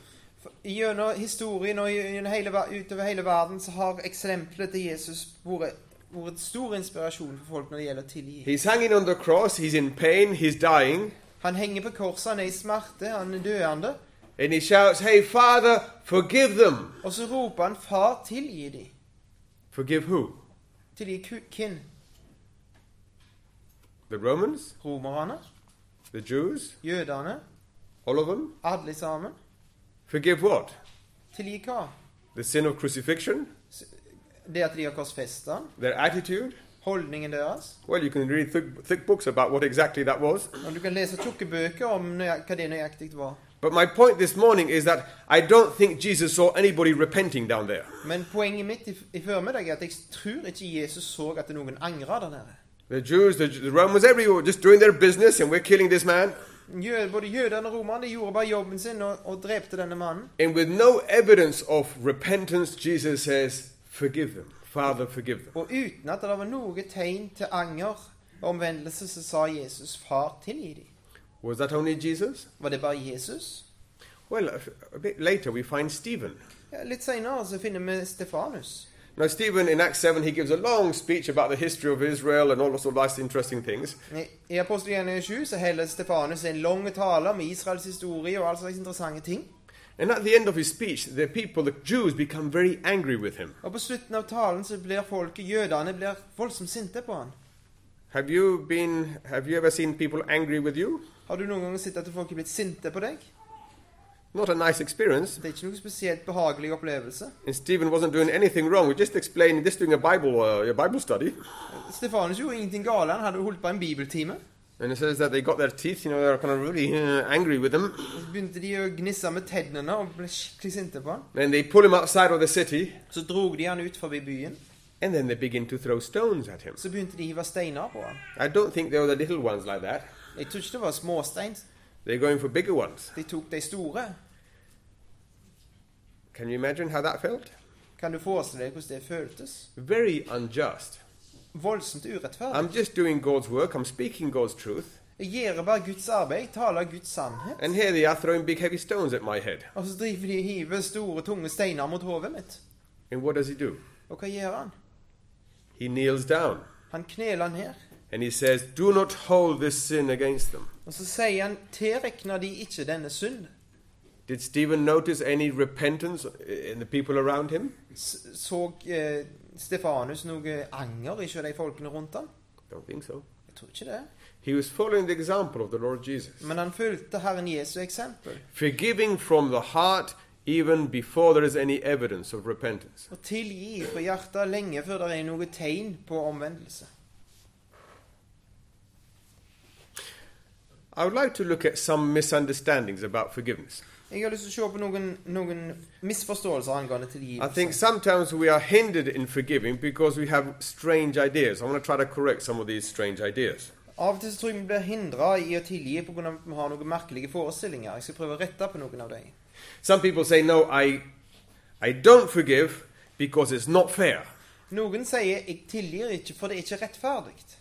[SPEAKER 1] For Gjennom historien og gjennom hele, ver- utover hele verden så har eksempelet til Jesus vært, vært stor inspirasjon for folk når det gjelder å tilgi.
[SPEAKER 2] He's hanging on the cross, he's in pain, he's dying,
[SPEAKER 1] Han henger på korset, han er i smerte, han er døende.
[SPEAKER 2] and he shouts, Hey, Father, forgive them!
[SPEAKER 1] Og så roper han 'Far, tilgi de'.
[SPEAKER 2] Forgive who?
[SPEAKER 1] Tilgi ku- hvem?
[SPEAKER 2] The Romans?
[SPEAKER 1] Romerne?
[SPEAKER 2] The Jews?
[SPEAKER 1] Jødene?
[SPEAKER 2] All of them?
[SPEAKER 1] Alle sammen?
[SPEAKER 2] Forgive what?
[SPEAKER 1] Tilgi hva?
[SPEAKER 2] The sin of crucifixion?
[SPEAKER 1] Det at de har korsfesta han?
[SPEAKER 2] Their attitude?
[SPEAKER 1] Holdningen deres?
[SPEAKER 2] Well, you can read thick, thick books about what exactly that was.
[SPEAKER 1] Og du kan lese tjukke bøker om nøya- hva det nøyaktig var.
[SPEAKER 2] But my point this morning is that I don't think Jesus saw anybody repenting down there.
[SPEAKER 1] Men poenget mitt i, i formiddag er at jeg tror ikke Jesus så at noen angra der nede.
[SPEAKER 2] The Jews, the, the Romans, everyone just doing their business, and we're killing this man.
[SPEAKER 1] Jø- Både jødene og romerne de gjorde bare jobben sin og, og drepte denne mannen.
[SPEAKER 2] And with no evidence of repentance, Jesus says, Forgive them. Father, forgive them.
[SPEAKER 1] Og uten at det var noe tegn til anger og omvendelse, så sa Jesus 'Far, tilgi dem'.
[SPEAKER 2] Was that only Jesus?
[SPEAKER 1] Var det bare Jesus?
[SPEAKER 2] Well, a- a bit later we find Stephen.
[SPEAKER 1] Ja, litt seinere så finner vi Stefanus.
[SPEAKER 2] Now, Stephen in Acts 7, he gives a long speech about the history of Israel and all sorts of nice, interesting things.
[SPEAKER 1] I- I Apostelgjerningen 7 så holder Stefanus en lang tale om Israels historie og all slags interessante ting.
[SPEAKER 2] And at the end of his speech, the people, the Jews, become very angry with him.
[SPEAKER 1] Og på slutten av talen så blir folket, jødene, blir voldsomt sinte på han.
[SPEAKER 2] Have you been? Have you ever seen people angry with you?
[SPEAKER 1] Har du noen gang sett at folk er blitt sinte på deg?
[SPEAKER 2] Not a nice experience.
[SPEAKER 1] Det er ikke noe spesielt behagelig opplevelse.
[SPEAKER 2] And Stephen wasn't doing anything wrong. We're just explaining, just doing a Bible, uh, a Bible study.
[SPEAKER 1] Stefanus gjorde ingenting galt, han hadde holdt på en bibeltime.
[SPEAKER 2] And it says that they got their teeth. You know, they're kind of really uh, angry with him.
[SPEAKER 1] Og så begynte de å gnisse med tennene og ble skikkelig sinte på han.
[SPEAKER 2] Then they pull him outside of the city,
[SPEAKER 1] Så drog de han ut forbi byen.
[SPEAKER 2] and then they begin to throw stones at him.
[SPEAKER 1] Så begynte de å hive steiner på han.
[SPEAKER 2] I don't think they were the little ones like that.
[SPEAKER 1] Jeg tror ikke det var småstein.
[SPEAKER 2] They're going for bigger ones.
[SPEAKER 1] De tok de store.
[SPEAKER 2] Can you imagine how that felt?
[SPEAKER 1] Kan du forestille deg hvordan det føltes?
[SPEAKER 2] Very unjust.
[SPEAKER 1] Voldsomt urettferdig.
[SPEAKER 2] I'm just doing God's work. I'm speaking God's truth,
[SPEAKER 1] Jeg gjør bare Guds arbeid, taler Guds sannhet.
[SPEAKER 2] and here they are throwing big, heavy stones at my head.
[SPEAKER 1] Og så driver de og hiver store, tunge steiner mot hodet mitt.
[SPEAKER 2] And what does he do?
[SPEAKER 1] Og hva gjør han?
[SPEAKER 2] He kneels down.
[SPEAKER 1] Han kneler ned.
[SPEAKER 2] And he says, Do not hold this sin against them.
[SPEAKER 1] Og så sier han, tilrekner de ikke denne synd?
[SPEAKER 2] Did Stephen notice any repentance in the people around him?
[SPEAKER 1] S- Så eh, Stefanus noe anger i de folkene rundt ham?
[SPEAKER 2] Don't think so.
[SPEAKER 1] Jeg tror ikke det.
[SPEAKER 2] He was following the example of the Lord Jesus,
[SPEAKER 1] Men han fulgte Herren Jesu eksempel.
[SPEAKER 2] forgiving from the heart even before there is any evidence of repentance.
[SPEAKER 1] Og tilgi fra hjertet lenge før det er noe tegn på omvendelse.
[SPEAKER 2] I would like to look at some misunderstandings about forgiveness.
[SPEAKER 1] Jeg har lyst til å se på noen, noen misforståelser angående
[SPEAKER 2] I think
[SPEAKER 1] tilgivelse.
[SPEAKER 2] sometimes we are hindered in forgiving because we have strange ideas. I want to try to correct some of these strange ideas.
[SPEAKER 1] Av og til så tror jeg vi blir hindra i å tilgi pga. at vi har noen merkelige forestillinger. Jeg skal prøve å rette på noen av dem.
[SPEAKER 2] Some people say, No, I, I don't forgive because it's not fair.
[SPEAKER 1] Noen sier 'jeg tilgir ikke, for det er ikke rettferdig'.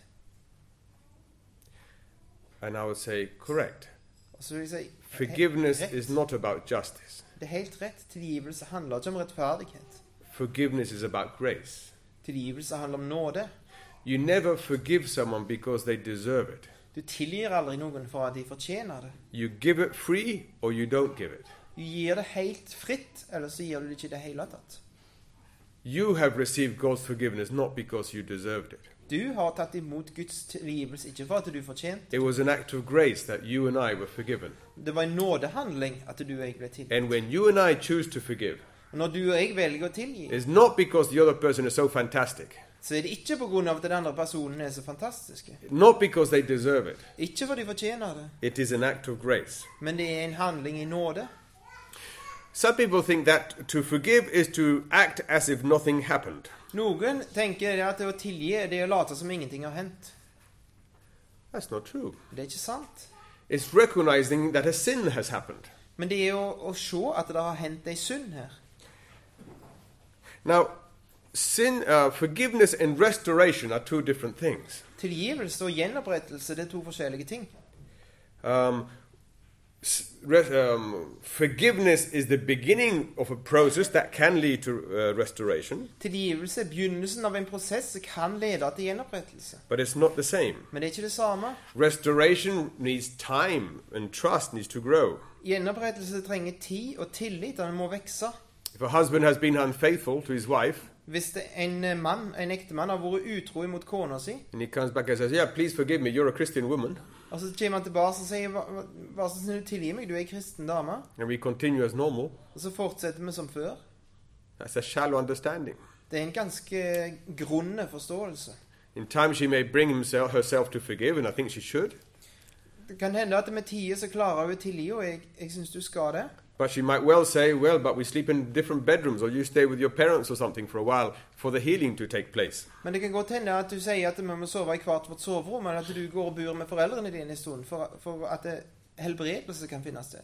[SPEAKER 2] And I would say, correct.
[SPEAKER 1] Og så vil jeg si
[SPEAKER 2] Forgiveness
[SPEAKER 1] "Helt
[SPEAKER 2] is
[SPEAKER 1] rett.
[SPEAKER 2] not about justice.
[SPEAKER 1] Det er helt rett. Tilgivelse handler ikke om rettferdighet.
[SPEAKER 2] Forgiveness is about grace.
[SPEAKER 1] Tilgivelse handler om nåde.
[SPEAKER 2] You never forgive someone because they deserve it.
[SPEAKER 1] Du tilgir aldri noen for at de fortjener det.
[SPEAKER 2] You give it free or you don't give it.
[SPEAKER 1] Du gir det helt fritt, eller så gir du det ikke i det hele tatt.
[SPEAKER 2] You have received God's forgiveness not because you deserved it.
[SPEAKER 1] Du har tatt imot Guds tilgivelse ikke for at du fortjente.
[SPEAKER 2] It was an act of grace that you and I were forgiven.
[SPEAKER 1] Det var en nådehandling at du og jeg ble tilgitt.
[SPEAKER 2] And when you and I choose to forgive,
[SPEAKER 1] Og Når du og jeg velger å tilgi,
[SPEAKER 2] it's not because the other person is so fantastic,
[SPEAKER 1] så er det ikke pga. at den andre personen er så fantastisk.
[SPEAKER 2] not because they deserve it.
[SPEAKER 1] Ikke for de fortjener det,
[SPEAKER 2] It is an act of grace.
[SPEAKER 1] men det er en handling i nåde.
[SPEAKER 2] Some people think that to forgive is to act as if nothing happened.
[SPEAKER 1] Noen tenker det at det å tilgi det er å late som ingenting har hendt.
[SPEAKER 2] That's not true.
[SPEAKER 1] Det er ikke sant.
[SPEAKER 2] It's recognizing that a sin has happened.
[SPEAKER 1] Men det er jo å se at det har hendt ei synd her.
[SPEAKER 2] Now, sin, uh, forgiveness and restoration are two different things.
[SPEAKER 1] Tilgivelse og gjenopprettelse det er to forskjellige ting.
[SPEAKER 2] Um, s- re- um, forgiveness is the beginning of a process that can lead to uh, restoration,
[SPEAKER 1] Tilgivelse er begynnelsen av en prosess som kan lede til gjenopprettelse.
[SPEAKER 2] but it's not the same.
[SPEAKER 1] Men det er ikke det samme.
[SPEAKER 2] Restoration needs time and trust needs to grow.
[SPEAKER 1] Gjenopprettelse trenger tid og tillit, og den må vokse.
[SPEAKER 2] If a husband has been unfaithful to his wife
[SPEAKER 1] Hvis det en eh, mann, en ektemann har vært utro mot kona si,
[SPEAKER 2] and he comes back and says, Yeah, please forgive me, you're a Christian woman,
[SPEAKER 1] og så kommer han tilbake og sier "Hva- hva- Vær så snill, tilgi meg, du er ei kristen dame.
[SPEAKER 2] and we continue as normal,
[SPEAKER 1] Og så fortsetter vi som før.
[SPEAKER 2] that's a shallow understanding.
[SPEAKER 1] Det er en ganske grunne forståelse.
[SPEAKER 2] In time, she may bring himself, herself to forgive, and I think she should,
[SPEAKER 1] Det kan hende at med tider så klarer hun å tilgi, og jeg, jeg syns du skal det.
[SPEAKER 2] but she might well say, Well, but we sleep in different bedrooms, or you stay with your parents or something for a while for the healing to take place.
[SPEAKER 1] Men det kan godt hende at du sier at vi må sove i hvert vårt soverom, men at du går og bor med foreldrene dine en stund for, for at det, helbredelse kan finne sted.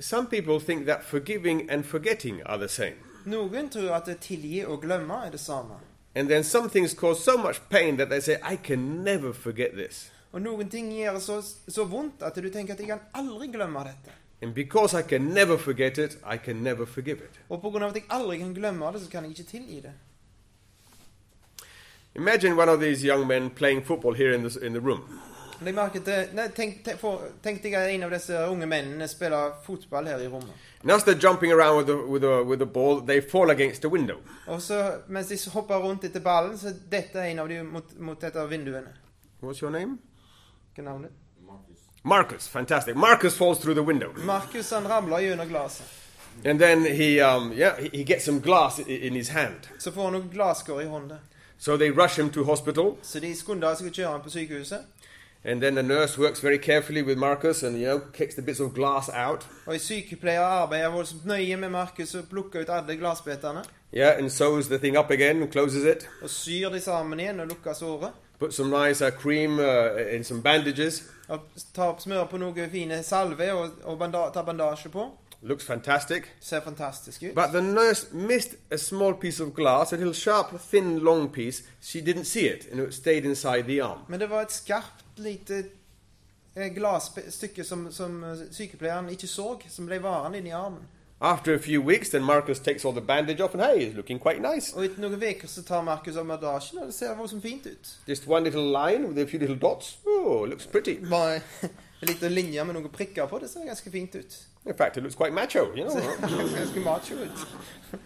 [SPEAKER 2] Some people think that forgiving and forgetting are the same.
[SPEAKER 1] Noen tror at det tilgi og glemme er det samme.
[SPEAKER 2] And then some things cause so much pain that they say, I can never forget this.
[SPEAKER 1] Og noen ting gjør så, så vondt at du tenker at jeg kan aldri glemme dette.
[SPEAKER 2] And because I can never forget it, I can never forgive it.
[SPEAKER 1] Og pga. at jeg aldri kan glemme det, så kan jeg ikke tilgi det.
[SPEAKER 2] Imagine one of these young men playing football here in, this, in the room.
[SPEAKER 1] Men jeg merket det, nei, tenk, tenk, for, tenkte jeg at en av disse unge mennene spiller fotball her i rommet.
[SPEAKER 2] And as they're jumping around with the, with the, with the ball, they fall against the window.
[SPEAKER 1] Og så, mens de hopper rundt etter ballen, så detter en av dem mot, mot et av vinduene.
[SPEAKER 2] What's your name?
[SPEAKER 1] Hva er navnet?
[SPEAKER 2] Marcus. Fantastic. Marcus falls through the window.
[SPEAKER 1] Markus han ramler gjennom glasset.
[SPEAKER 2] And then he, um, yeah, he, he gets some glass in, in his hand.
[SPEAKER 1] Så får han noen glasskår i hånda.
[SPEAKER 2] So they rush him to hospital.
[SPEAKER 1] Så de skunder seg og kjører han på sykehuset.
[SPEAKER 2] And then the nurse works very carefully with Marcus and, you know, kicks the bits of glass out.
[SPEAKER 1] Og en sykepleier arbeider voldsomt nøye med Markus og plukker ut alle glassbitene.
[SPEAKER 2] Yeah, and sews the thing up again and closes it.
[SPEAKER 1] Og syr de sammen igjen og lukker såret.
[SPEAKER 2] Put some nice uh, cream uh, and some bandages.
[SPEAKER 1] Og tar, smører på noe fine salve og, og banda, tar bandasje på.
[SPEAKER 2] Looks fantastic.
[SPEAKER 1] Ser fantastisk ut.
[SPEAKER 2] But the nurse missed a small piece of glass, a little sharp, thin, long piece. She didn't see it, and it stayed inside the arm.
[SPEAKER 1] Men det var et skarpt lite eh, glasstykke som, som eh, sykepleieren ikke så, som ble varende inni armen.
[SPEAKER 2] After a few weeks, then Marcus takes all the bandage off, and hey, it's looking quite nice.
[SPEAKER 1] Og etter noen uker så tar Markus av bandasjen, og det ser voldsomt fint ut.
[SPEAKER 2] Just one little line with a few little dots. Oh, it looks pretty.
[SPEAKER 1] Bare en liten linje med noen prikker på, det ser ganske fint ut.
[SPEAKER 2] In fact, it looks quite macho, you
[SPEAKER 1] Det
[SPEAKER 2] know.
[SPEAKER 1] ser ganske macho ut.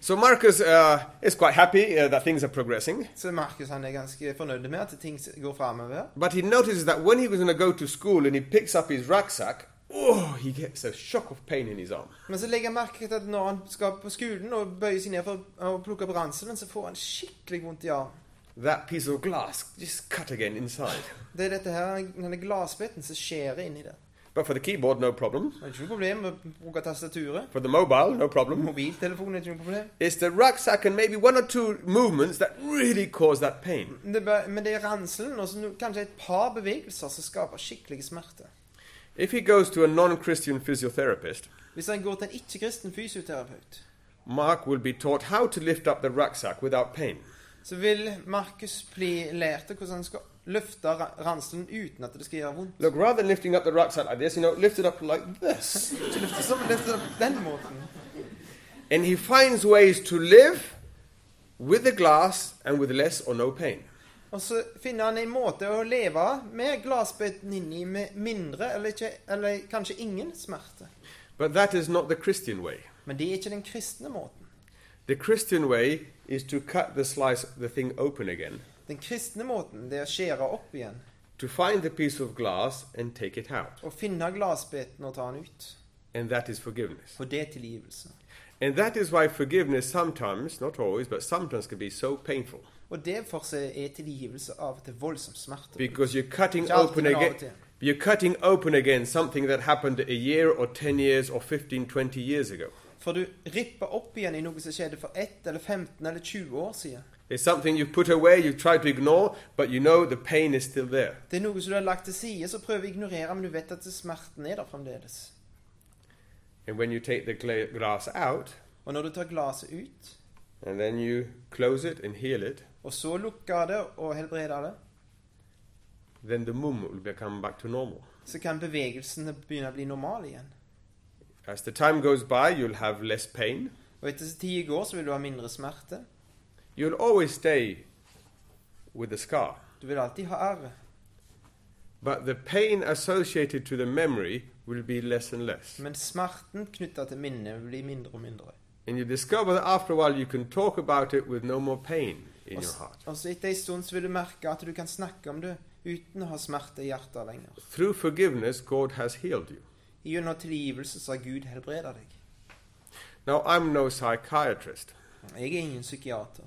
[SPEAKER 2] so Marcus uh, is quite happy uh, that things are progressing,
[SPEAKER 1] Så Markus han er ganske fornøyd med at ting går framover.
[SPEAKER 2] but he notices that when he was going to go to school and he picks up his rucksack, oh, he gets a shock of pain in his arm.
[SPEAKER 1] Men så legger jeg merke til at når han skal på skolen og bøyer seg ned for å plukke opp ranselen, så får han skikkelig vondt i armen.
[SPEAKER 2] That piece of glass just cut again inside.
[SPEAKER 1] Det er dette her, denne glassbiten som skjærer inni der.
[SPEAKER 2] But for the keyboard, no problem.
[SPEAKER 1] Det er ikke noe problem med å bruke tastaturet.
[SPEAKER 2] For the mobile, no problem.
[SPEAKER 1] Mobiltelefonen er ikke noe problem.
[SPEAKER 2] It's the rucksack and maybe one or two movements that really cause that pain.
[SPEAKER 1] Men det, er bare- men det er ranselen og så no- kanskje et par bevegelser som skaper skikkelig smerte.
[SPEAKER 2] If he goes to a non Christian physiotherapist,
[SPEAKER 1] Hvis han går til en ikke-kristen fysioterapeut,
[SPEAKER 2] Mark will be taught how to lift up the rucksack without pain.
[SPEAKER 1] så vil Markus bli lært hvordan han skal løfte ra- ranselen uten at det skal gjøre vondt.
[SPEAKER 2] Look, rather than lifting up the rucksack like this, you know, lift it up like this.
[SPEAKER 1] Ikke løfte som løfte opp den måten.
[SPEAKER 2] And he finds ways to live with the glass and with less or no pain.
[SPEAKER 1] Og så finner han en måte å leve med glassbiten inni med mindre eller, ikke, eller kanskje ingen smerte.
[SPEAKER 2] But that is not the Christian way.
[SPEAKER 1] Men det er ikke den kristne måten.
[SPEAKER 2] The Christian way is to cut the slice, the thing open again,
[SPEAKER 1] Den kristne måten det er å skjære opp igjen
[SPEAKER 2] to find the piece of glass and take it out.
[SPEAKER 1] og finne glassbiten og ta den ut.
[SPEAKER 2] And that is forgiveness.
[SPEAKER 1] For det er tilgivelse.
[SPEAKER 2] And that is why forgiveness sometimes, not always, but sometimes can be so painful.
[SPEAKER 1] Og det for seg er tilgivelse av og til voldsom smerte.
[SPEAKER 2] Because you're cutting
[SPEAKER 1] Just
[SPEAKER 2] open
[SPEAKER 1] an hour
[SPEAKER 2] again.
[SPEAKER 1] to-
[SPEAKER 2] You're cutting open again something that happened a year or 10 years or 15, 20 years ago.
[SPEAKER 1] For du ripper opp igjen i noe som skjedde for 1 eller 15 eller 20 år siden.
[SPEAKER 2] It's something you put away, you try to ignore, but you know the pain is still there.
[SPEAKER 1] Det er noe som du har lagt til side, så prøver å ignorere, men du vet at smerten er der fremdeles.
[SPEAKER 2] And when you take the gla- glass out,
[SPEAKER 1] Og når du tar glasset ut,
[SPEAKER 2] and then you close it and heal it,
[SPEAKER 1] og så lukker det og helbreder det,
[SPEAKER 2] then the mum will become back to normal.
[SPEAKER 1] så kan bevegelsene begynne å bli normal igjen.
[SPEAKER 2] As the time goes by, you'll have less pain.
[SPEAKER 1] Og etter tida går, så vil du ha mindre smerte.
[SPEAKER 2] You'll always stay with the scar,
[SPEAKER 1] Du vil alltid ha arr.
[SPEAKER 2] but the pain associated to the memory will be less and less.
[SPEAKER 1] Men smerten knytta til minnet blir mindre og mindre.
[SPEAKER 2] And you discover that after a while you can talk about it with no more pain in
[SPEAKER 1] Og
[SPEAKER 2] your
[SPEAKER 1] s-
[SPEAKER 2] heart.
[SPEAKER 1] og så etter ei stund så vil du merke at du kan snakke om det uten å ha smerte i hjertet lenger.
[SPEAKER 2] Through forgiveness, God has healed you.
[SPEAKER 1] Gjennom tilgivelse så har Gud helbreda deg.
[SPEAKER 2] Now, I'm no psychiatrist,
[SPEAKER 1] Jeg er ingen psykiater,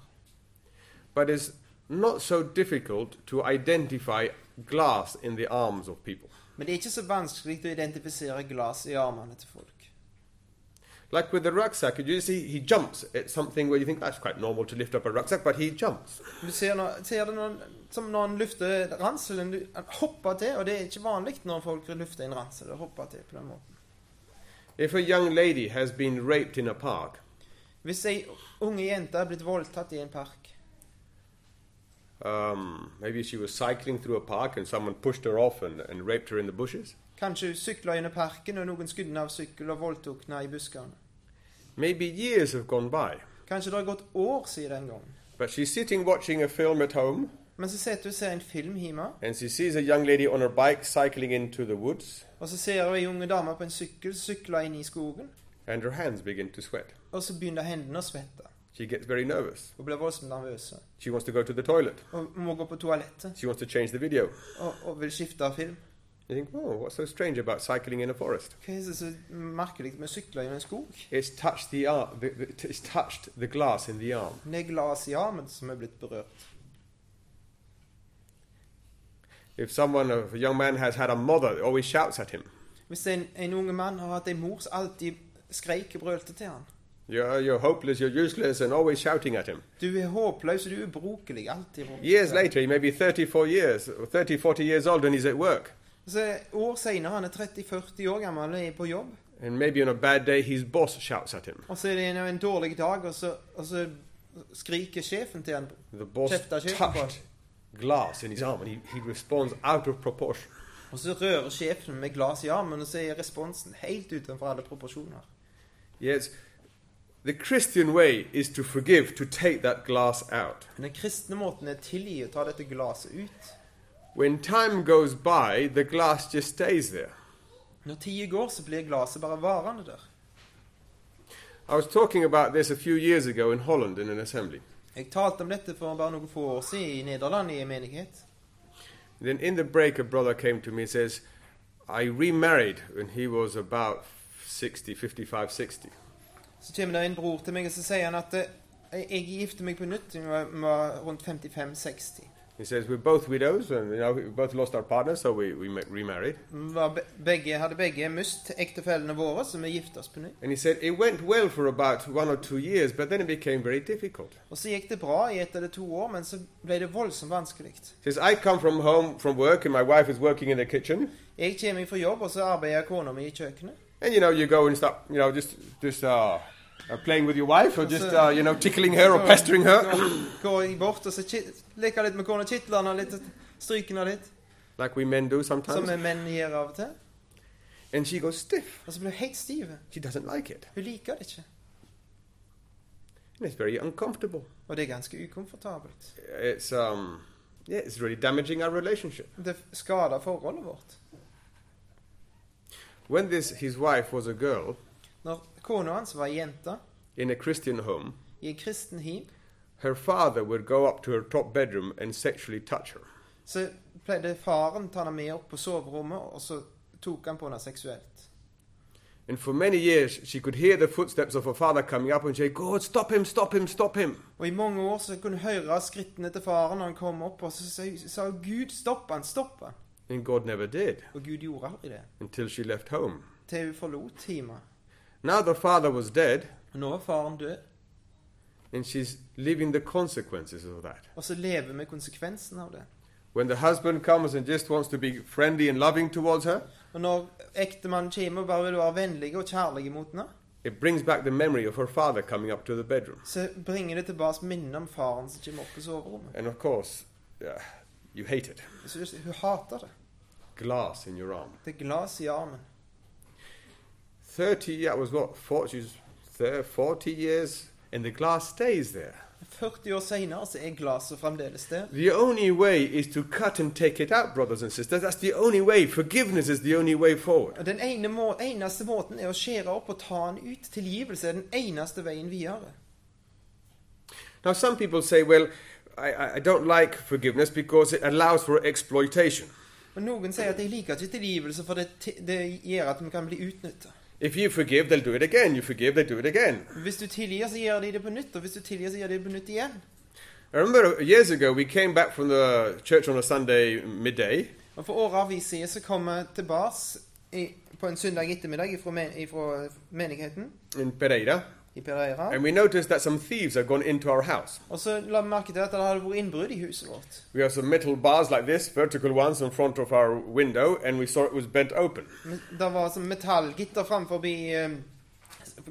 [SPEAKER 2] but it's not so difficult to identify glass in the arms of people.
[SPEAKER 1] men det er ikke så vanskelig å identifisere glass i armene til folk.
[SPEAKER 2] Like with the rucksack, you see he jumps. It's something where you think that's quite normal to lift up a rucksack, but he jumps.
[SPEAKER 1] Du ser, når, ser det når, som når en lufter ranselen. Du, han hopper til, og det er ikke vanlig når folk lufter en ransel. og hopper til på den måten.
[SPEAKER 2] If a young lady has been raped in a park,
[SPEAKER 1] Hvis ei unge jente er blitt voldtatt i en park,
[SPEAKER 2] um, maybe she was cycling through a park and someone pushed her off and, and raped her in the bushes.
[SPEAKER 1] kanskje hun sykla gjennom parken, og noen skudde henne av sykkel og voldtok henne i buskene.
[SPEAKER 2] Maybe years have gone by,
[SPEAKER 1] Kanskje det har gått år siden den gangen.
[SPEAKER 2] but she's sitting watching a film at home
[SPEAKER 1] Men så sitter hun og ser en film hjemme,
[SPEAKER 2] and she sees a young lady on her bike cycling into the woods
[SPEAKER 1] og så ser hun ei unge dame på en sykkel sykle inn i skogen,
[SPEAKER 2] and her hands begin to sweat.
[SPEAKER 1] og så begynner hendene å svette.
[SPEAKER 2] She gets very nervous.
[SPEAKER 1] Hun blir voldsomt nervøs
[SPEAKER 2] She wants to go to the toilet.
[SPEAKER 1] og må gå på toalettet
[SPEAKER 2] She wants to change the video.
[SPEAKER 1] og, og vil skifte av film.
[SPEAKER 2] You think, oh, what's so strange about cycling in a forest?
[SPEAKER 1] Hva er det som er merkelig med å sykle gjennom en skog?
[SPEAKER 2] It's touched the, ar- the, the it's touched the glass in the arm.
[SPEAKER 1] Men Det er glass i armen som er blitt berørt.
[SPEAKER 2] If someone, if a young man has had a mother, that always shouts at him.
[SPEAKER 1] Hvis en, en unge mann har hatt en mor som alltid skreik og brølte til han.
[SPEAKER 2] You're, you're hopeless, you're useless, and always shouting at him.
[SPEAKER 1] Du er håpløs, og du er ubrukelig. Alltid ubrukelig.
[SPEAKER 2] Years later, he may be 34 years, or 30, 40 years old, and he's at work.
[SPEAKER 1] Så år senere, han er 30-40 år gammel og er på jobb,
[SPEAKER 2] And maybe on a bad day, his boss shouts at him.
[SPEAKER 1] og så er det en, en dårlig dag, og så, og så skriker sjefen til han.
[SPEAKER 2] The boss
[SPEAKER 1] Chef, does he-
[SPEAKER 2] touched glass in his arm, and he, he responds out of proportion.
[SPEAKER 1] Og så rører sjefen med glass i armen, og så er responsen helt utenfor alle proporsjoner.
[SPEAKER 2] Yes, the Christian way is to forgive, to take that glass out.
[SPEAKER 1] Men den kristne måten er å tilgi og ta dette glasset ut.
[SPEAKER 2] When time goes by, the glass just stays there.
[SPEAKER 1] Når tida går, så blir glasset bare varende der.
[SPEAKER 2] I was talking about this a few years ago in Holland in an assembly.
[SPEAKER 1] Jeg talte om dette for bare noen få år siden i Nederland, i en menighet.
[SPEAKER 2] Then in the break, a brother came to me and says, I remarried when he was about 60, 55, 60.
[SPEAKER 1] Så kommer det en bror til meg, og så sier han at eh, jeg gifter meg på nytt da jeg var rundt 55-60.
[SPEAKER 2] He says, we're both widows and you know, we both lost our partners, so we, we ma- remarried.
[SPEAKER 1] Vi var be- begge, hadde begge mist ektefellene våre, så vi gifta oss på nytt.
[SPEAKER 2] And he said, it went well for about one or two years, but then it became very difficult.
[SPEAKER 1] Og så gikk det bra i ett eller to år, men så ble det voldsomt vanskelig.
[SPEAKER 2] He says, I come from home from work and my wife is working in the kitchen.
[SPEAKER 1] Jeg kommer fra jobb, og så arbeider kona mi i kjøkkenet.
[SPEAKER 2] And you know, you go and start, you know, just, just uh, uh, playing with your wife or just,
[SPEAKER 1] uh,
[SPEAKER 2] uh, you know, tickling her or pestering her.
[SPEAKER 1] Så går jeg bort og så kit- leker litt med kona, kitler henne litt, stryker henne litt,
[SPEAKER 2] Like we men do
[SPEAKER 1] som
[SPEAKER 2] sometimes.
[SPEAKER 1] vi menn gjør av og til.
[SPEAKER 2] And she goes stiff.
[SPEAKER 1] Og så blir hun helt stiv.
[SPEAKER 2] She doesn't like it.
[SPEAKER 1] Hun liker det ikke.
[SPEAKER 2] And it's very uncomfortable.
[SPEAKER 1] Og det er ganske ukomfortabelt.
[SPEAKER 2] It's, um, yeah, it's really damaging our relationship.
[SPEAKER 1] Det skader forholdet vårt.
[SPEAKER 2] When this, his wife was a girl
[SPEAKER 1] Når kona hans var ei jente
[SPEAKER 2] in a Christian home,
[SPEAKER 1] i en kristen hiv,
[SPEAKER 2] her father would go up to her top bedroom and sexually touch her.
[SPEAKER 1] så pleide faren ta henne med opp på soverommet, og så tok han på henne seksuelt.
[SPEAKER 2] And for many years, she could hear the footsteps of her father coming up and say, God, stop him, stop him, stop him.
[SPEAKER 1] Og i mange år så kunne hun høre skrittene til faren når han kom opp, og så sa hun- sa hun 'Gud, stopp han, stopp han'.
[SPEAKER 2] And God never did
[SPEAKER 1] Og Gud gjorde aldri det.
[SPEAKER 2] until she left home.
[SPEAKER 1] Til hun forlot hjemmet.
[SPEAKER 2] Now the father was dead,
[SPEAKER 1] Og Nå var faren død,
[SPEAKER 2] and she's living the consequences of that.
[SPEAKER 1] Og så lever vi konsekvensen av det.
[SPEAKER 2] When the husband comes and just wants to be friendly and loving towards her,
[SPEAKER 1] Og når ektemannen kommer og bare vil være vennlig og kjærlig mot henne,
[SPEAKER 2] it brings back the memory of her father coming up to the bedroom.
[SPEAKER 1] så bringer det tilbake minnet om faren som kommer opp på soverommet.
[SPEAKER 2] And of course, yeah, you hate it.
[SPEAKER 1] Så det- hun hater det.
[SPEAKER 2] Glass in your arm.
[SPEAKER 1] Det er glass i armen.
[SPEAKER 2] 30, yeah, it was what, 40, thir- 40 years, and the glass stays there.
[SPEAKER 1] 40 år senere så er glasset fremdeles der.
[SPEAKER 2] The only way is to cut and take it out, brothers and sisters. That's the only way. Forgiveness is the only way forward.
[SPEAKER 1] Og Den ene må eneste måten er å skjære opp og ta den ut. Tilgivelse er den eneste veien videre.
[SPEAKER 2] Now, some people say, well, I- I, I don't like forgiveness because it allows for exploitation.
[SPEAKER 1] Og Noen sier at de liker ikke tilgivelse, for det, ti- det gjør at vi kan bli utnytta.
[SPEAKER 2] If you forgive, they'll do it again. You forgive, they do it again.
[SPEAKER 1] Hvis du tilgir, så gjør de det på nytt, og hvis du tilgir, så gjør de det på nytt igjen.
[SPEAKER 2] I remember years ago, we came back from the church on a Sunday midday,
[SPEAKER 1] Og For årevis siden så kom vi tilbake på en søndag ettermiddag fra, men, ifra menigheten
[SPEAKER 2] in Pereira,
[SPEAKER 1] i Pereira.
[SPEAKER 2] and we noticed that some thieves had gone into our house.
[SPEAKER 1] Og så la vi merke til at det hadde vært innbrudd i huset vårt.
[SPEAKER 2] We have some metal bars like this, vertical ones, in front of our window, and we saw it was bent open.
[SPEAKER 1] Men Det var sånn metallgitter framfor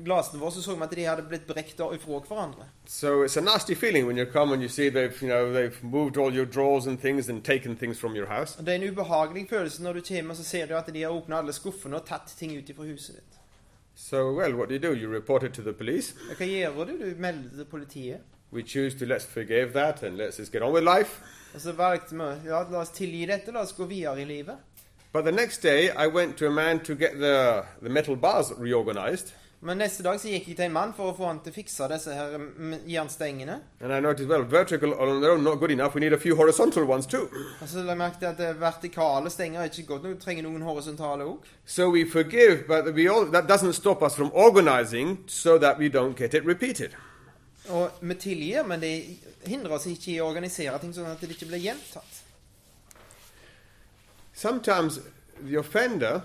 [SPEAKER 1] glasene våre, så så vi at de hadde blitt brekt av ifra hverandre.
[SPEAKER 2] So it's a nasty feeling when you come and you see they've, you know, they've moved all your drawers and things and taken things from your house.
[SPEAKER 1] Og Det er en ubehagelig følelse når du kommer og så ser du at de har åpna alle skuffene og tatt ting ut ifra huset ditt.
[SPEAKER 2] So, well, what do you do? You report it to the police.
[SPEAKER 1] Og Hva gjør du? Du melder til politiet.
[SPEAKER 2] We choose to let's forgive that and let's just get on with life.
[SPEAKER 1] Og så valgte vi ja, la oss tilgi dette, la oss gå videre i livet.
[SPEAKER 2] But the next day, I went to a man to get the, the metal bars reorganized.
[SPEAKER 1] Men neste dag så gikk jeg til en mann for å få han til å fikse disse her mm, jernstengene.
[SPEAKER 2] And I noticed, well, vertical on their own not good enough. We need a few horizontal ones too.
[SPEAKER 1] Og så la jeg merke til at eh, vertikale stenger er ikke godt nok, du trenger noen horisontale òg.
[SPEAKER 2] So we forgive, but we all, that doesn't stop us from organizing so that we don't get it repeated.
[SPEAKER 1] Og vi tilgir, men det hindrer oss ikke i å organisere ting sånn at det ikke blir gjentatt.
[SPEAKER 2] Sometimes the offender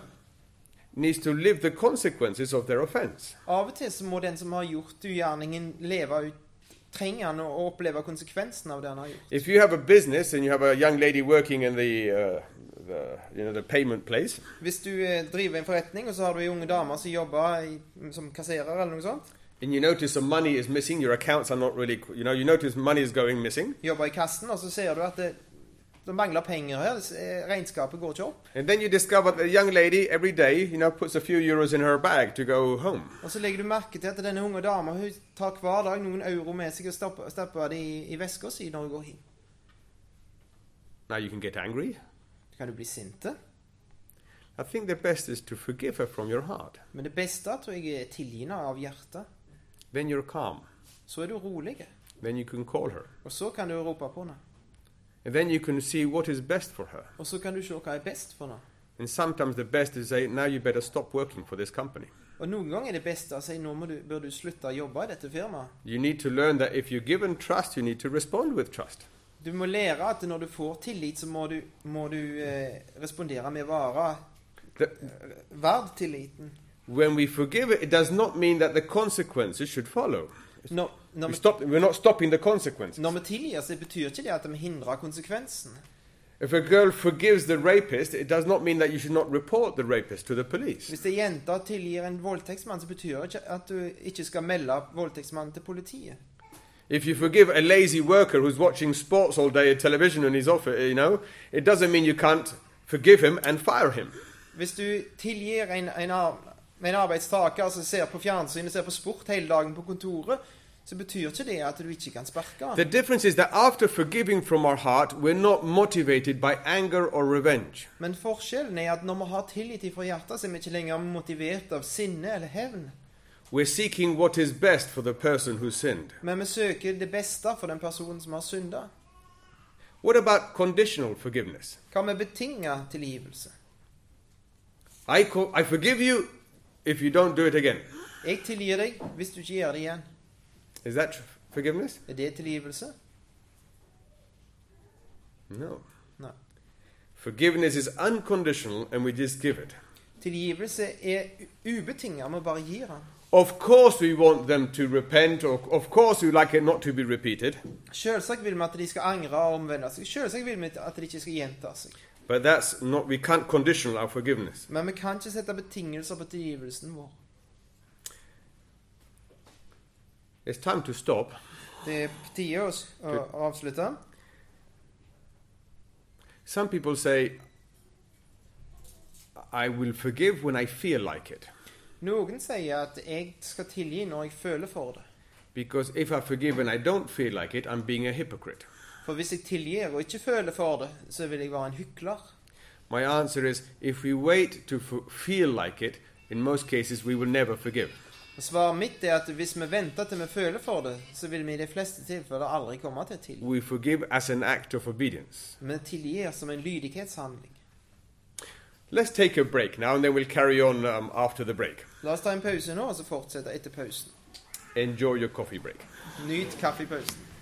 [SPEAKER 2] needs to live the consequences of their offense.
[SPEAKER 1] Av og til så må den som har gjort ugjerningen, leve ut Trenger han å å oppleve konsekvensen av det han har gjort?
[SPEAKER 2] If you have a business and you have a young lady working in the, uh, the you know the payment place,
[SPEAKER 1] Hvis du eh, driver en forretning, og så har du ei unge dame som jobber i, som kasserer, eller noe sånt,
[SPEAKER 2] and you notice some money is missing, your accounts are not really you know you notice money is going missing,
[SPEAKER 1] jobber i kassen, og så ser du at det, det mangler penger her, s- eh, regnskapet går ikke opp.
[SPEAKER 2] and then you discover the young lady every day you know puts a few euros in her bag to go home.
[SPEAKER 1] Og så legger du merke til at denne unge dama hun tar hver dag noen euro med seg og stapper, stapper det i, i veska si når hun går hjem.
[SPEAKER 2] Now you can get angry.
[SPEAKER 1] Kan du bli sint?
[SPEAKER 2] I think the best is to forgive her from your heart.
[SPEAKER 1] Men det beste tror jeg er tilgivende av hjertet.
[SPEAKER 2] Then you're calm.
[SPEAKER 1] Så er du rolig,
[SPEAKER 2] Then you can call her.
[SPEAKER 1] og så kan du rope på henne.
[SPEAKER 2] And then you can see what is best for her.
[SPEAKER 1] Og så kan du se hva er best for henne.
[SPEAKER 2] And sometimes the best is say, now you better stop working for this company.
[SPEAKER 1] Og noen ganger er det beste å si nå må du, bør du slutte å jobbe i dette firmaet.
[SPEAKER 2] You need to learn that if you're given trust, you need to respond with trust.
[SPEAKER 1] Du må lære at når du får tillit, så må du, må du eh, respondere med vare. eh,
[SPEAKER 2] That
[SPEAKER 1] Verd tilliten.
[SPEAKER 2] when we forgive it, it does not mean that the consequences should follow.
[SPEAKER 1] Når,
[SPEAKER 2] We
[SPEAKER 1] når, vi,
[SPEAKER 2] stop, we're not stopping the consequences.
[SPEAKER 1] når vi tilgir, så betyr ikke det at vi hindrer konsekvensen.
[SPEAKER 2] If a girl forgives the rapist, it does not mean that you should not report the rapist to the police.
[SPEAKER 1] Hvis ei jente tilgir en voldtektsmann, så betyr det ikke at du ikke skal melde voldtektsmannen til politiet.
[SPEAKER 2] If you forgive a lazy worker who's watching sports all day at television in his office, you know, it doesn't mean you can't forgive him and fire him.
[SPEAKER 1] Hvis du tilgir en, en, ar- en arbeidstaker som ser på fjernsynet, ser på sport hele dagen på kontoret, så betyr ikke det at du ikke kan sparke
[SPEAKER 2] The
[SPEAKER 1] han.
[SPEAKER 2] difference is that after forgiving from our heart, we're not motivated by anger or revenge.
[SPEAKER 1] Men forskjellen er at når vi har tillit fra hjertet, så er vi ikke lenger motivert av sinne eller hevn.
[SPEAKER 2] We're seeking what is best for the person who sinned.
[SPEAKER 1] Men vi søker det beste for den personen som har synda.
[SPEAKER 2] What about conditional forgiveness?
[SPEAKER 1] Hva med betinga tilgivelse?
[SPEAKER 2] I, co- I forgive you if you don't do it again.
[SPEAKER 1] Jeg tilgir deg hvis du ikke gjør det igjen.
[SPEAKER 2] Is that tr- forgiveness?
[SPEAKER 1] Er det tilgivelse?
[SPEAKER 2] No.
[SPEAKER 1] Nei.
[SPEAKER 2] Forgiveness is unconditional and we just give it.
[SPEAKER 1] Tilgivelse er u- ubetinget, vi bare gir han.
[SPEAKER 2] Of course, we want them to repent, or of course, we like it not to be repeated.
[SPEAKER 1] Selvsagt vil vi at de skal angre og omvende seg. Selvsagt vil vi at de ikke skal gjenta seg.
[SPEAKER 2] But that's not, we can't conditional our forgiveness.
[SPEAKER 1] Men vi kan ikke sette betingelser på tilgivelsen vår.
[SPEAKER 2] It's time to stop.
[SPEAKER 1] Det er på tide å s- å å avslutte.
[SPEAKER 2] Some people say, I will forgive when I feel like it.
[SPEAKER 1] Noen sier at jeg skal tilgi når jeg føler for det.
[SPEAKER 2] Because if I forgive and I don't feel like it, I'm being a hypocrite.
[SPEAKER 1] For hvis jeg tilgir og ikke føler for det, så vil jeg være en hykler.
[SPEAKER 2] My answer is if we wait to f- feel like it, in most cases we will never forgive.
[SPEAKER 1] Og Svaret mitt er at hvis vi venter til vi føler for det, så vil vi i de fleste tilfeller aldri komme til å tilgi.
[SPEAKER 2] We forgive as an act of obedience.
[SPEAKER 1] Vi tilgir som en lydighetshandling.
[SPEAKER 2] Let's take a break now and then we'll carry on um, after the break.
[SPEAKER 1] La oss ta en pause nå, og så fortsette etter pausen.
[SPEAKER 2] Enjoy your coffee break.
[SPEAKER 1] Nyt kaffepausen.